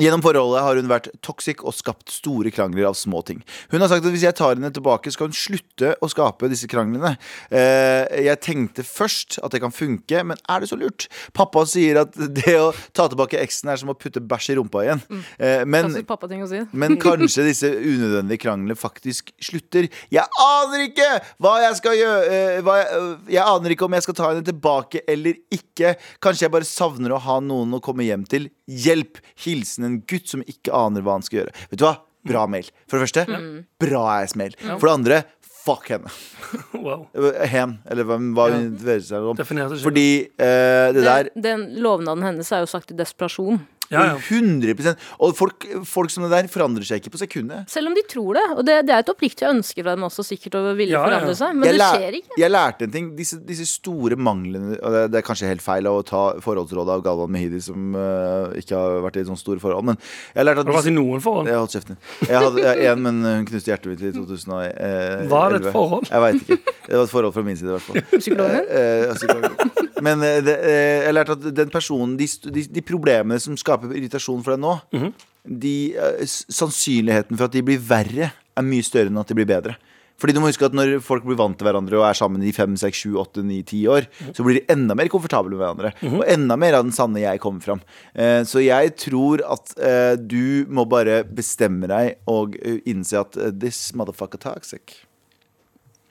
Speaker 2: Gjennom forholdet har hun vært toxic og skapt store krangler av små ting. Hun har sagt at hvis jeg tar henne tilbake, skal hun slutte å skape disse kranglene. Eh, jeg tenkte først at det kan funke, men er det så lurt? Pappa sier at det å ta tilbake eksen er som å putte bæsj i rumpa igjen. Eh, men
Speaker 3: Klassisk pappating å si.
Speaker 2: men kanskje disse unødvendige kranglene faktisk slutter. Jeg aner ikke hva jeg skal gjøre eh, hva jeg, eh, jeg aner ikke om jeg skal ta henne tilbake eller ikke. Kanskje jeg bare savner å ha noen å komme hjem til. Hjelp! Hilsen en gutt som ikke aner hva han skal gjøre. Vet du hva? Bra mail. For det første,
Speaker 4: Mm.
Speaker 2: bra ass-mail. For det andre, fuck henne.
Speaker 4: Wow.
Speaker 2: Eh, Hen, eller hvem, hva hun interesserer seg om.
Speaker 4: Definerte ikke.
Speaker 2: Fordi eh, det der
Speaker 3: Den, den lovnaden hennes er jo sagt i desperasjon.
Speaker 4: Ja, ja.
Speaker 2: 100 Og folk, folk som det der forandrer seg ikke på sekundet.
Speaker 3: Selv om de tror det. Og det, det er et oppriktig ønske fra dem også, sikkert, å ville
Speaker 4: Ja, ja.
Speaker 3: forandre seg. Men
Speaker 2: jeg
Speaker 3: det
Speaker 2: lær-
Speaker 3: skjer ikke.
Speaker 2: Jeg lærte en ting. Disse, disse store manglene og det, det er kanskje helt feil å ta forholdsrådet av Galvan Mehidi, som eh, ikke har vært i sånne store forhold, men jeg lærte at
Speaker 4: Har du vært
Speaker 2: disse,
Speaker 4: i noen forhold?
Speaker 2: jeg holdt kjeften. Jeg hadde én, men hun knuste hjertet
Speaker 3: <laughs>
Speaker 2: mitt i 2011.
Speaker 4: Var det et forhold?
Speaker 2: eh, Jeg veit ikke. Det var et forhold fra min side, i hvert fall.
Speaker 3: Psykologen?
Speaker 2: Eh, altså, Men eh, det, eh, jeg lærte at den personen de, st- de, de problemene som skaper irritasjon for deg nå de, eh, s- Sannsynligheten for at de blir verre Er mye større enn at de blir bedre Fordi du må huske at når folk blir vant til hverandre Og er sammen i 5, 6, 7, 8, 9, 10 år Så blir de enda mer komfortable med hverandre Og enda mer av den sanne jeg kommer frem Eh, Så jeg tror at eh, Du må bare bestemme deg Og eh, innse at eh, This motherfucker toxic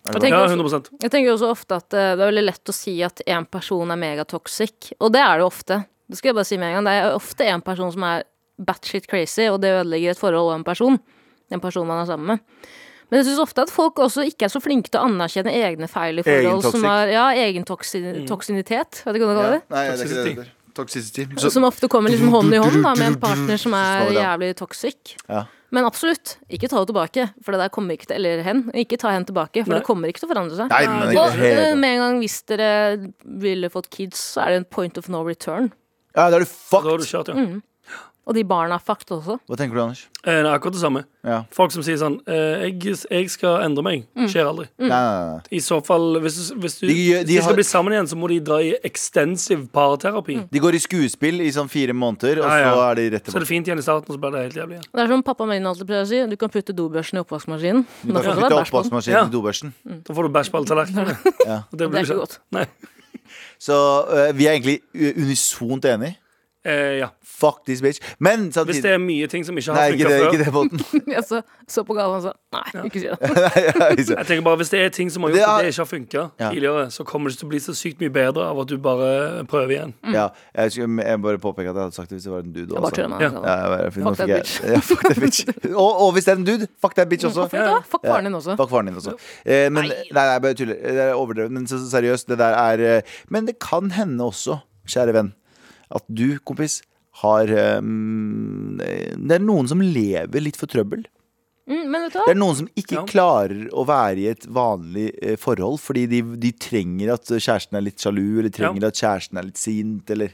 Speaker 3: Jeg
Speaker 4: Ja,
Speaker 3: tenker også-
Speaker 4: 100
Speaker 3: Jeg tenker også ofte at eh, det er veldig lett å si at en person er megatoxic, og det er det jo ofte. Det skal jeg bare si med en gang. Det er ofte en person som er batshit crazy, og det ødelegger et forhold og en person. En person man er sammen med. Men jeg syns ofte at folk også ikke er så flinke til å anerkjenne egne feil i forhold.
Speaker 2: Egentoxic.
Speaker 3: Som er, ja, egen toksi toksinitet, vet du hva du kaller det?
Speaker 2: Nei, det er ikke det det
Speaker 4: Toxicity.
Speaker 2: heter. Toxicity Så-
Speaker 3: Som ofte kommer liksom hånd i hånd da, med en partner som er
Speaker 2: Svar, ja.
Speaker 3: jævlig toxic.
Speaker 2: Ja.
Speaker 3: Men absolutt, ikke ta henne tilbake, for det der kommer ikke til Eller hen. Ikke ta henne tilbake, for
Speaker 4: Nei.
Speaker 3: det kommer ikke til å forandre seg.
Speaker 2: Nei, men
Speaker 3: Og
Speaker 2: ikke
Speaker 3: eh,
Speaker 2: helt
Speaker 3: med en gang hvis dere ville fått kids, så er det en point of no return.
Speaker 2: Ja, da er du
Speaker 4: Da har
Speaker 2: fucked
Speaker 4: du kjørt,
Speaker 3: Mm.
Speaker 4: ja.
Speaker 3: Og de barna er fucked også.
Speaker 2: Hva tenker du, Anders?
Speaker 4: Eh, nei, akkurat det samme.
Speaker 2: Ja.
Speaker 4: Folk som sier sånn eh, jeg, 'Jeg skal endre meg.'
Speaker 3: Mm.
Speaker 4: Skjer aldri.
Speaker 2: Nei, nei, nei.
Speaker 4: I så fall, hvis, du- hvis, du,
Speaker 2: De gjør- de
Speaker 4: hvis de skal
Speaker 2: har-
Speaker 4: bli sammen igjen, så må de dra i ekstensiv paraterapi.
Speaker 3: Mm.
Speaker 2: De går i skuespill i sånn fire måneder, og
Speaker 4: Ja, ja.
Speaker 2: så er de rett
Speaker 4: Så er det
Speaker 2: tilbake.
Speaker 4: fint igjen i starten, og så blir det helt jævlig igjen.
Speaker 3: Det er som pappa min alltid pleier å si, du kan putte dobørsen i oppvaskmaskinen.
Speaker 2: Du kan
Speaker 3: Da får det
Speaker 2: flytte
Speaker 3: være bæsj på den.
Speaker 2: oppvaskmaskinen
Speaker 4: Ja.
Speaker 2: til dobørsten.
Speaker 4: Da får du bæsj på alle tallerkenene. <laughs>
Speaker 2: Ja.
Speaker 4: Og Det
Speaker 3: Det
Speaker 4: blir
Speaker 3: er ikke
Speaker 4: ikke
Speaker 3: godt.
Speaker 4: Nei.
Speaker 2: Så øh, vi er egentlig øh, unisont enige.
Speaker 4: Eh, ja.
Speaker 2: Fuck this bitch. Men
Speaker 4: Hvis det
Speaker 2: samtidig
Speaker 4: er mye ting som
Speaker 2: Nei,
Speaker 4: ikke har
Speaker 2: ikke
Speaker 4: funka
Speaker 2: det,
Speaker 4: før.
Speaker 2: ikke det <laughs> båten.
Speaker 3: <laughs> Jeg så, så på Galvan og sa nei, ikke si det.
Speaker 4: Jeg tenker bare, Hvis det er ting som har
Speaker 2: Det
Speaker 4: gjort
Speaker 2: er-
Speaker 4: at det ikke har funka
Speaker 2: Ja.
Speaker 4: tidligere, så kommer det ikke til å bli så sykt mye bedre av at du bare prøver igjen.
Speaker 2: Ja, jeg, skulle, jeg bare påpeker at jeg hadde sagt det hvis det var en dude
Speaker 3: Jeg bare
Speaker 2: også.
Speaker 3: tuller med
Speaker 4: Ja.
Speaker 2: Ja,
Speaker 3: deg. Galvan.
Speaker 2: jeg bare- nå
Speaker 3: Fuck that
Speaker 2: fikk
Speaker 3: bitch.
Speaker 2: jeg- <laughs> Ja, fuck that
Speaker 3: <laughs>
Speaker 2: bitch. Og, og hvis det er en dude, fuck that bitch også.
Speaker 3: Fuck da, Fuck faren din også.
Speaker 2: Fuck faren din også. Eh, men, nei, nei, jeg bare tuller. Det er overdrevet. Men så, så seriøst, det der er eh, Men det kan hende også, kjære venn, at du, kompis, har eh, Det er noen som lever litt for trøbbel.
Speaker 3: Mm, men vet du
Speaker 2: Det
Speaker 3: hva?
Speaker 2: er noen som ikke
Speaker 4: Ja.
Speaker 2: klarer å være i et vanlig eh, forhold fordi de, de trenger at kjæresten er litt sjalu, eller trenger
Speaker 4: Ja.
Speaker 2: at kjæresten er litt sint, eller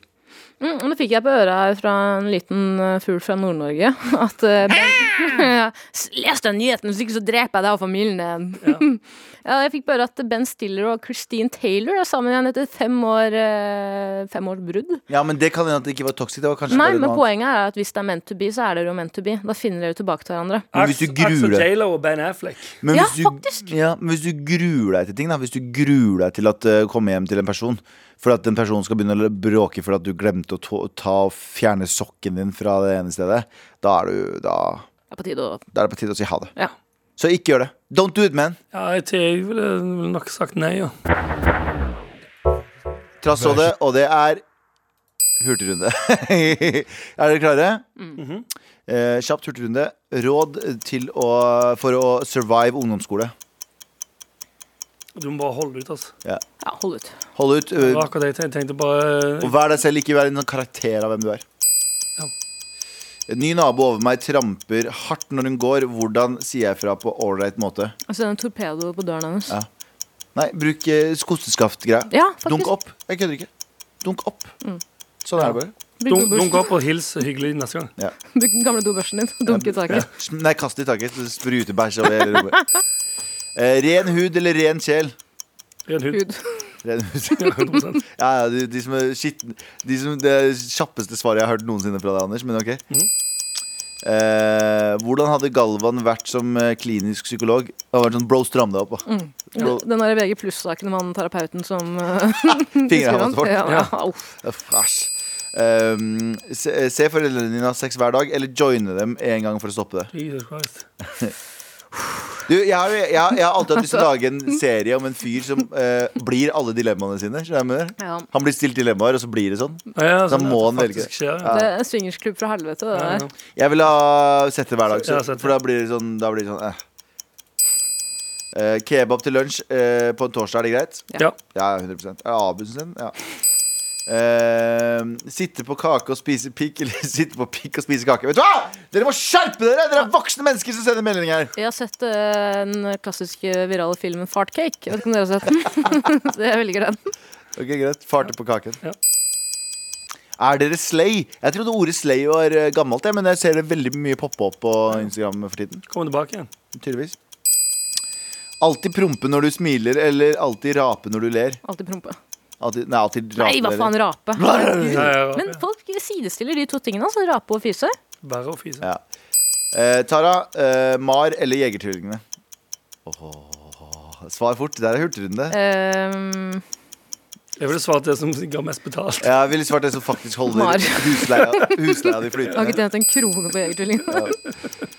Speaker 3: Mm, nå fikk jeg på øret her fra en liten eh, fugl fra Nord-Norge <laughs> at eh, ben, <laughs> Les den nyheten, hvis ikke så dreper jeg deg og familien din. <laughs> Ja, jeg fikk bare at Ben Stiller og Christine Taylor er sammen igjen etter fem år eh, Fem års brudd.
Speaker 2: Ja, men det kan hende at det ikke var toxic. Det var kanskje
Speaker 3: Nei,
Speaker 2: bare
Speaker 3: men
Speaker 2: noe annet.
Speaker 3: poenget er at hvis det er meant to be, så er dere jo meant to be. Da finner dere jo tilbake til hverandre.
Speaker 2: Men hvis du gruer
Speaker 4: Axel
Speaker 2: deg-
Speaker 4: Taylor og Ben Affleck.
Speaker 2: Men
Speaker 3: Ja,
Speaker 2: hvis du,
Speaker 3: faktisk.
Speaker 2: Ja, men hvis du gruer deg til ting, da. Hvis du gruer deg til å uh, komme hjem til en person for at den personen skal begynne å bråke for at du glemte å ta, ta og fjerne sokken din fra det ene stedet, da er, du, da,
Speaker 3: Det er på tide å
Speaker 2: da er det på tide å si ha det.
Speaker 3: Ja.
Speaker 2: Så ikke gjør det. Don't do it, man.
Speaker 4: Ja, jeg, til- jeg ville ville nok sagt nei, ja.
Speaker 2: Trass og det, og det er hurtigrunde. <laughs> er dere klare? eh, kjapt hurtigrunde. Råd til å, for å survive ungdomsskole.
Speaker 4: Du må bare holde ut, altså.
Speaker 3: Ja, hold ut.
Speaker 2: Hold ut.
Speaker 4: Det
Speaker 2: eh,
Speaker 4: var akkurat det jeg tenkte. Jeg tenkte bare eh,
Speaker 2: Og vær deg selv, ikke vær en sånn karakter av hvem du er.
Speaker 4: Ja.
Speaker 2: En ny nabo over meg tramper hardt når hun går. Hvordan sier jeg fra på ålreit måte?
Speaker 3: Og så er det en torpedo på døren hennes.
Speaker 2: Ja. Nei, bruk eh, kosteskaftgreia.
Speaker 3: Ja, faktisk. Mm.
Speaker 2: Dunk opp. Jeg kødder ikke. Dunk opp. Sånn er det bare.
Speaker 4: dunk,
Speaker 3: Bruk dobørsten.
Speaker 4: dunk opp og hils hyggelig neste gang.
Speaker 3: <laughs> Bruk den gamle dobørsten din. Dunke i taket.
Speaker 2: Sm- Nei, kast det i taket. så det Spruter bæsj over hele rommet. Eh, ren hud eller ren sjel?
Speaker 4: Ren hud.
Speaker 3: Hud.
Speaker 2: Ren hud.
Speaker 4: Ja,
Speaker 2: <laughs>
Speaker 4: 100
Speaker 2: Ja, ja, de, de som er skitten De som Det er kjappeste svaret jeg har hørt noensinne fra deg, Anders, men ok. Eh, hvordan hadde Galvan vært som eh, klinisk psykolog? Det hadde vært sånn, Bro, stram deg opp. da. Bro,
Speaker 3: Den der VG pluss-saken om han terapeuten som uh,
Speaker 2: fingrene hans bort.
Speaker 3: Ja,
Speaker 4: Ja.
Speaker 3: uff.
Speaker 2: Uff, Æsj. Um, se, se foreldrene dine ha sex hver dag, eller joine dem en gang for å stoppe det.
Speaker 4: Jesus Christ.
Speaker 2: Du, jeg, har, jeg, har- jeg har alltid hatt lyst til å lage en serie om en fyr som eh, blir alle dilemmaene sine. Skjønner du hva jeg mener?
Speaker 3: Ja.
Speaker 2: Han blir stilt dilemmaer, og så blir det sånn.
Speaker 4: Ja, ja,
Speaker 2: Da
Speaker 4: sånn
Speaker 2: må
Speaker 4: at det
Speaker 2: han velge.
Speaker 4: faktisk Skjer, ja.
Speaker 3: Det er en swingersklubb fra helvete, det
Speaker 4: Ja,
Speaker 3: der.
Speaker 4: ja.
Speaker 2: Jeg vil ha sett det hver dag,
Speaker 4: Ja,
Speaker 2: så,
Speaker 4: sett det.
Speaker 2: for da blir det sånn, da blir det sånn eh. Eh, Kebab til lunsj eh, på en torsdag, er det greit?
Speaker 4: Ja.
Speaker 2: Ja, 100 Er det Abundsen sin? Ja. Eh, sitte på kake og spise pikk, <laughs> eller sitte på pikk og spise kake. Vet du hva! Dere må skjerpe dere! Dere er voksne mennesker som sender melding her.
Speaker 3: Jeg har sett eh, den klassiske virale filmen Fartcake. Jeg vet ikke om dere har sett den? <laughs> Så jeg velger den.
Speaker 2: Ok, greit, Farte på kaken.
Speaker 4: Ja.
Speaker 2: Er dere slay? Jeg trodde ordet slay var eh, gammelt, jeg, men jeg ser det veldig mye poppe opp på Instagram for tiden.
Speaker 4: Kommer tilbake igjen.
Speaker 2: Tydeligvis Alltid prompe når du smiler, eller alltid rape når du ler.
Speaker 3: Alltid prompe.
Speaker 2: Alltid, nei, alltid rape
Speaker 3: Nei, hva
Speaker 2: dere.
Speaker 3: faen, rape.
Speaker 4: Ja, ja,
Speaker 3: Men
Speaker 4: ja.
Speaker 3: folk sidestiller de to tingene, altså rape og fyse.
Speaker 4: Verre å fise.
Speaker 2: Ja. Eh, Tara, eh, Mar eller Jegertvillingene? Åh, Svar fort. Det er hurtigrunde.
Speaker 3: Ehm,
Speaker 4: Jeg ville svart det som ga mest betalt.
Speaker 2: Jeg ville svart det som faktisk
Speaker 3: Mar.
Speaker 2: holder husleia, husleia di
Speaker 3: <laughs> jeg har
Speaker 2: flytende.
Speaker 3: ikke tjent en krone på Jegertvillingene.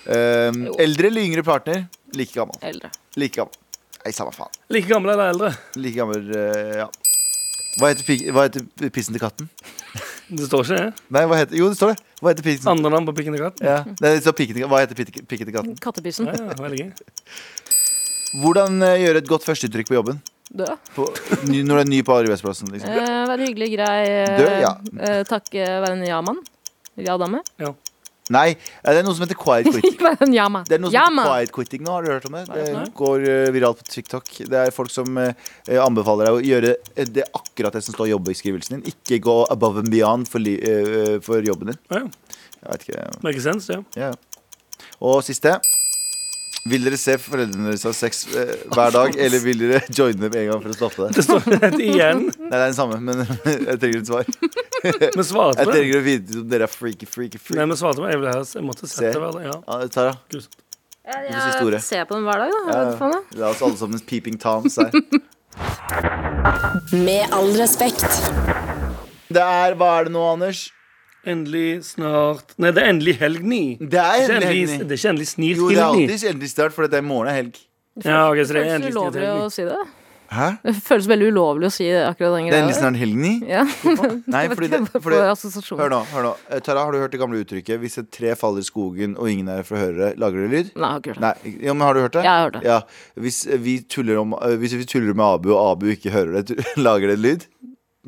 Speaker 2: Eh, eldre eller yngre partner? Like gammel.
Speaker 3: Eldre.
Speaker 2: Like gammel. Nei, samme faen.
Speaker 4: Like gamle eller eldre?
Speaker 2: Like gammel, eh, ja. Hva heter, pik- hva heter pissen til katten?
Speaker 4: Det står ikke det.
Speaker 2: Nei, hva heter, jo, det står det. Hva heter pissen?
Speaker 4: Andre navn på pikken til katten.
Speaker 2: Ja. Nei, det står pikken til- hva heter pik- pikken til katten?
Speaker 3: Kattepissen.
Speaker 4: Ja, ja, veldig gøy.
Speaker 2: Hvordan eh, gjøre et godt førsteinntrykk på jobben?
Speaker 3: Død.
Speaker 2: På, ny, når du er ny på arbeidsplassen. Liksom.
Speaker 3: Eh, være hyggelig, grei. eh,
Speaker 2: Død, ja.
Speaker 3: eh, takke, være en ja-mann. Ja-dame.
Speaker 2: Nei, eh, det er noe som heter quiet quitting.
Speaker 3: <laughs> Være en ja-mann.
Speaker 2: Det er noe som
Speaker 3: Ja,
Speaker 2: heter
Speaker 3: mann.
Speaker 2: quiet quitting nå, har du hørt om det? Det
Speaker 4: Nei.
Speaker 2: går eh, viralt på TikTok. Det er folk som eh, anbefaler deg å gjøre eh, det akkurat det som står i jobbeskrivelsen din. Ikke gå above and beyond for, li eh, for jobben din.
Speaker 4: Ja, ja.
Speaker 2: Jeg vet ikke.
Speaker 4: Make sense, ja.
Speaker 2: Ja. Og siste. Vil dere se foreldrene deres ha sex eh, hver dag, eller vil dere <laughs> joine dem en gang for å stoppe
Speaker 4: <laughs>
Speaker 2: det?
Speaker 4: Det står det igjen.
Speaker 2: Nei, det er den samme, men <laughs> jeg trenger et svar.
Speaker 4: Vi svarte
Speaker 2: Jeg
Speaker 4: på det.
Speaker 2: trenger å vite om dere er freaky, freaky,
Speaker 4: Nei,
Speaker 2: freaky.
Speaker 4: vi svarte på det. Jeg, ville, ha- jeg måtte
Speaker 2: Se.
Speaker 4: sette det. vel, Ja.
Speaker 2: Ja, Tara,
Speaker 4: Grusomt.
Speaker 2: du får siste ordet.
Speaker 3: Se på dem hver dag, da.
Speaker 2: Ja,
Speaker 3: Hva faen, da?
Speaker 2: La oss alle sammen peeping toms her.
Speaker 6: Med all respekt.
Speaker 2: Det er, hva er det nå, Anders?
Speaker 4: Endelig snart Nei, det er endelig helg ni. Det
Speaker 2: Det er
Speaker 4: er
Speaker 2: endelig
Speaker 4: endelig,
Speaker 2: helg.
Speaker 4: det er ikke endelig snir
Speaker 2: Jo, det er
Speaker 4: helg ni.
Speaker 2: alltid endelig snart, for det er i morgen er helg.
Speaker 4: Ja, ok, så det er
Speaker 3: Føles
Speaker 4: endelig snir
Speaker 3: ulovlig
Speaker 4: helg
Speaker 3: å
Speaker 4: ni.
Speaker 3: si det.
Speaker 2: Hæ?
Speaker 3: Det føles veldig ulovlig å si det, akkurat den
Speaker 2: Det er endelig
Speaker 3: greia. der.
Speaker 2: snart helg ni?
Speaker 3: Ja.
Speaker 2: <laughs> Nei, fordi det,
Speaker 3: <laughs> For
Speaker 2: fordi, Hør
Speaker 3: assosiasjoner.
Speaker 2: nå, hør nå. Eh, Tara, har du hørt det gamle uttrykket 'hvis et tre faller i skogen og ingen er her for å høre det'? Lager det lyd?
Speaker 3: Nei, jeg har ikke hørt det.
Speaker 2: Nei, ja, men har du hørt det?
Speaker 3: Jeg har hørt det.
Speaker 2: Ja. Hvis, eh, vi tuller om, eh, hvis vi tuller med Abu, og Abu ikke hører det, <laughs> tu- lager det lyd?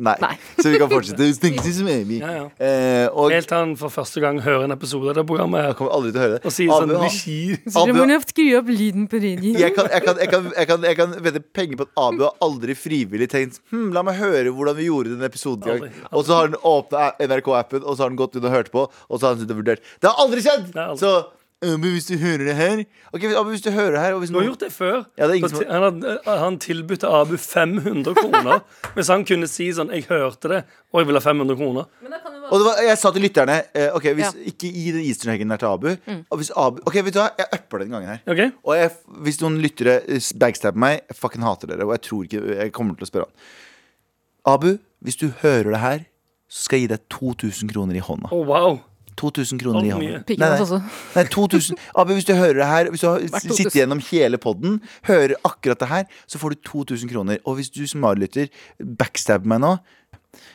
Speaker 2: Nei.
Speaker 3: Nei.
Speaker 2: Så vi kan fortsette. Snakkes som evig.
Speaker 4: Ja,
Speaker 2: Eh, og
Speaker 4: Helt til han for første gang hører en episode av det programmet her
Speaker 2: kommer aldri til å høre det.
Speaker 4: og sier
Speaker 2: Abu,
Speaker 4: sånn
Speaker 2: han-
Speaker 4: Bishir.
Speaker 3: Så dere må
Speaker 2: Abu,
Speaker 3: nok skru opp lyden på radioen.
Speaker 2: jeg kan, jeg, kan, jeg, kan, jeg, kan, jeg kan vedde penger på at Abu har aldri frivillig tenkt hm, La meg høre hvordan vi gjorde den episoden. i gang."
Speaker 4: Aldri, aldri.
Speaker 2: Og så har han åpna NRK-appen, og så har han gått inn og hørt på, og så har han sittet og vurdert. Det har aldri skjedd!
Speaker 4: Nei, aldri.
Speaker 2: Så Abu, hvis du hører det her Ok, Abu, hvis du hører det her og hvis
Speaker 4: Du har
Speaker 2: noen-
Speaker 4: gjort det før.
Speaker 2: Ja, det er ingen
Speaker 4: Så
Speaker 2: som-
Speaker 4: han, hadde- eh, han tilbudte Abu
Speaker 2: <laughs>
Speaker 4: 500 kroner. Hvis han kunne si sånn 'Jeg hørte det, og jeg vil ha 500 kroner'.
Speaker 2: Og det var, jeg sa til lytterne eh, Ok, hvis
Speaker 3: Ja.
Speaker 2: ikke gi den easternheggen der til Abu, og hvis Abu Ok, vet du hva, jeg upper den gangen her.
Speaker 4: Ok?
Speaker 2: Og jeg, hvis noen lyttere eh, backstabber meg, jeg fucking hater dere. Og jeg tror ikke Jeg kommer til å spørre han. Abu, hvis du hører det her, så skal jeg gi deg 2000 kroner i hånda.
Speaker 4: Å, wow.
Speaker 2: 2000 kroner i
Speaker 4: Altfor mye.
Speaker 2: hånden.
Speaker 3: Pikken
Speaker 2: Nei,
Speaker 3: hans
Speaker 2: nei.
Speaker 3: også.
Speaker 2: Nei,
Speaker 3: <laughs>
Speaker 2: 2000 Abu, hvis du hører det her Hvis du har
Speaker 3: Hvert 2000.
Speaker 2: sittet gjennom hele podden Hører akkurat det her Så får du 2000 kroner Og hvis du som lytter Backstab meg nå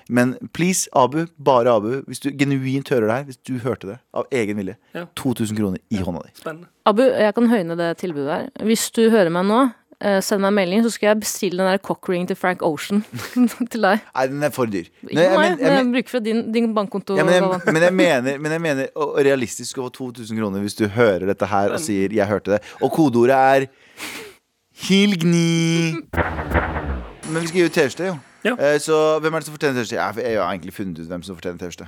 Speaker 2: Men please, Abu Bare Abu Hvis du genuint hører det her Hvis du hørte det Av egen vilje
Speaker 4: Ja.
Speaker 2: 2000 kroner i hånda di
Speaker 4: Spennende.
Speaker 3: Abu, jeg kan høyne det tilbudet her. Hvis du hører meg nå, eh, send meg en melding, så skal jeg bestille den der cockring til Frank Ocean <laughs> til deg.
Speaker 2: Nei, den er for dyr
Speaker 3: Ikke
Speaker 2: Nei, jeg
Speaker 3: meg,
Speaker 2: men- jeg
Speaker 3: men
Speaker 2: men-
Speaker 3: jeg bruker fra din, din bankkonto.
Speaker 2: ja, men,
Speaker 3: Galvan.
Speaker 2: jeg, men jeg mener, men jeg mener å, å realistisk over 2000 kroner hvis du hører dette her og sier 'jeg hørte det'. Og kodeordet er Hilgni. Men vi skal gi ut T-skjorte, jo.
Speaker 4: Ja.
Speaker 2: Eh, Så hvem er det som fortjener T-skjorte? Jeg, jeg har egentlig funnet ut hvem som fortjener T-skjorte.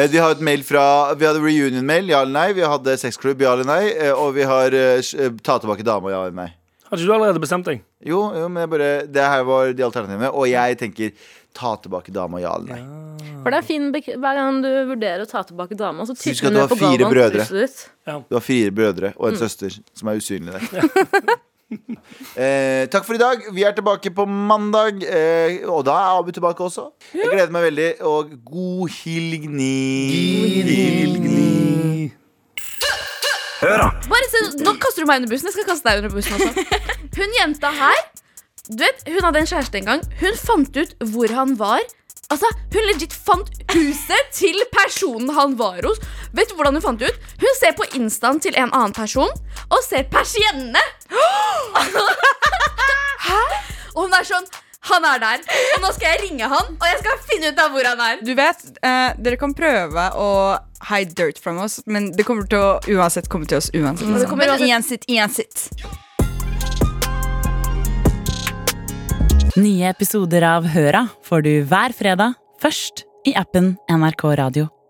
Speaker 2: Eh, Vi har et mail fra Vi hadde reunion-mail, ja eller nei. Vi hadde sexklubb, ja eller nei. Eh, Og vi har eh, s- eh, Ta tilbake dama, ja eller nei.
Speaker 4: Hadde ikke du allerede bestemt deg?
Speaker 2: Jo, jo, men jeg bare Det her var de alternativene. Og jeg tenker ta tilbake dama, ja eller nei.
Speaker 3: For det er fin bek Hver gang du vurderer å ta tilbake dama, så
Speaker 2: Husk at
Speaker 3: tytter
Speaker 2: du
Speaker 3: du ned
Speaker 2: har
Speaker 3: på
Speaker 2: fire
Speaker 3: Galvan.
Speaker 2: brødre.
Speaker 3: brødre. Ditt.
Speaker 2: Du har fire brødre og en søster som er usynlig der. <laughs> eh, takk for i dag. Vi er tilbake på mandag. Eh, og da er Abu tilbake også. Jeg gleder meg veldig. Og god hilgni.
Speaker 7: Bare se, nå kaster du meg under bussen. Jeg skal kaste deg under bussen også. Hun jenta her Du vet, Hun hadde en kjæreste en gang. Hun fant ut hvor han var. Altså, Hun legit fant huset til personen han var hos. Vet du hvordan Hun fant det ut? Hun ser på instaen til en annen person og ser persiennene! Hæ? Og hun er sånn Han er der. Og nå skal jeg ringe han, og jeg skal finne ut av hvor han er.
Speaker 8: Du vet, eh, dere kan prøve å hide dirt from oss, men det kommer til å uansett komme til oss uansett.
Speaker 7: det kommer
Speaker 3: altså
Speaker 7: uansett-
Speaker 8: Uansett, uansett.
Speaker 9: Nye episoder av Høra får du hver fredag, først i appen NRK Radio.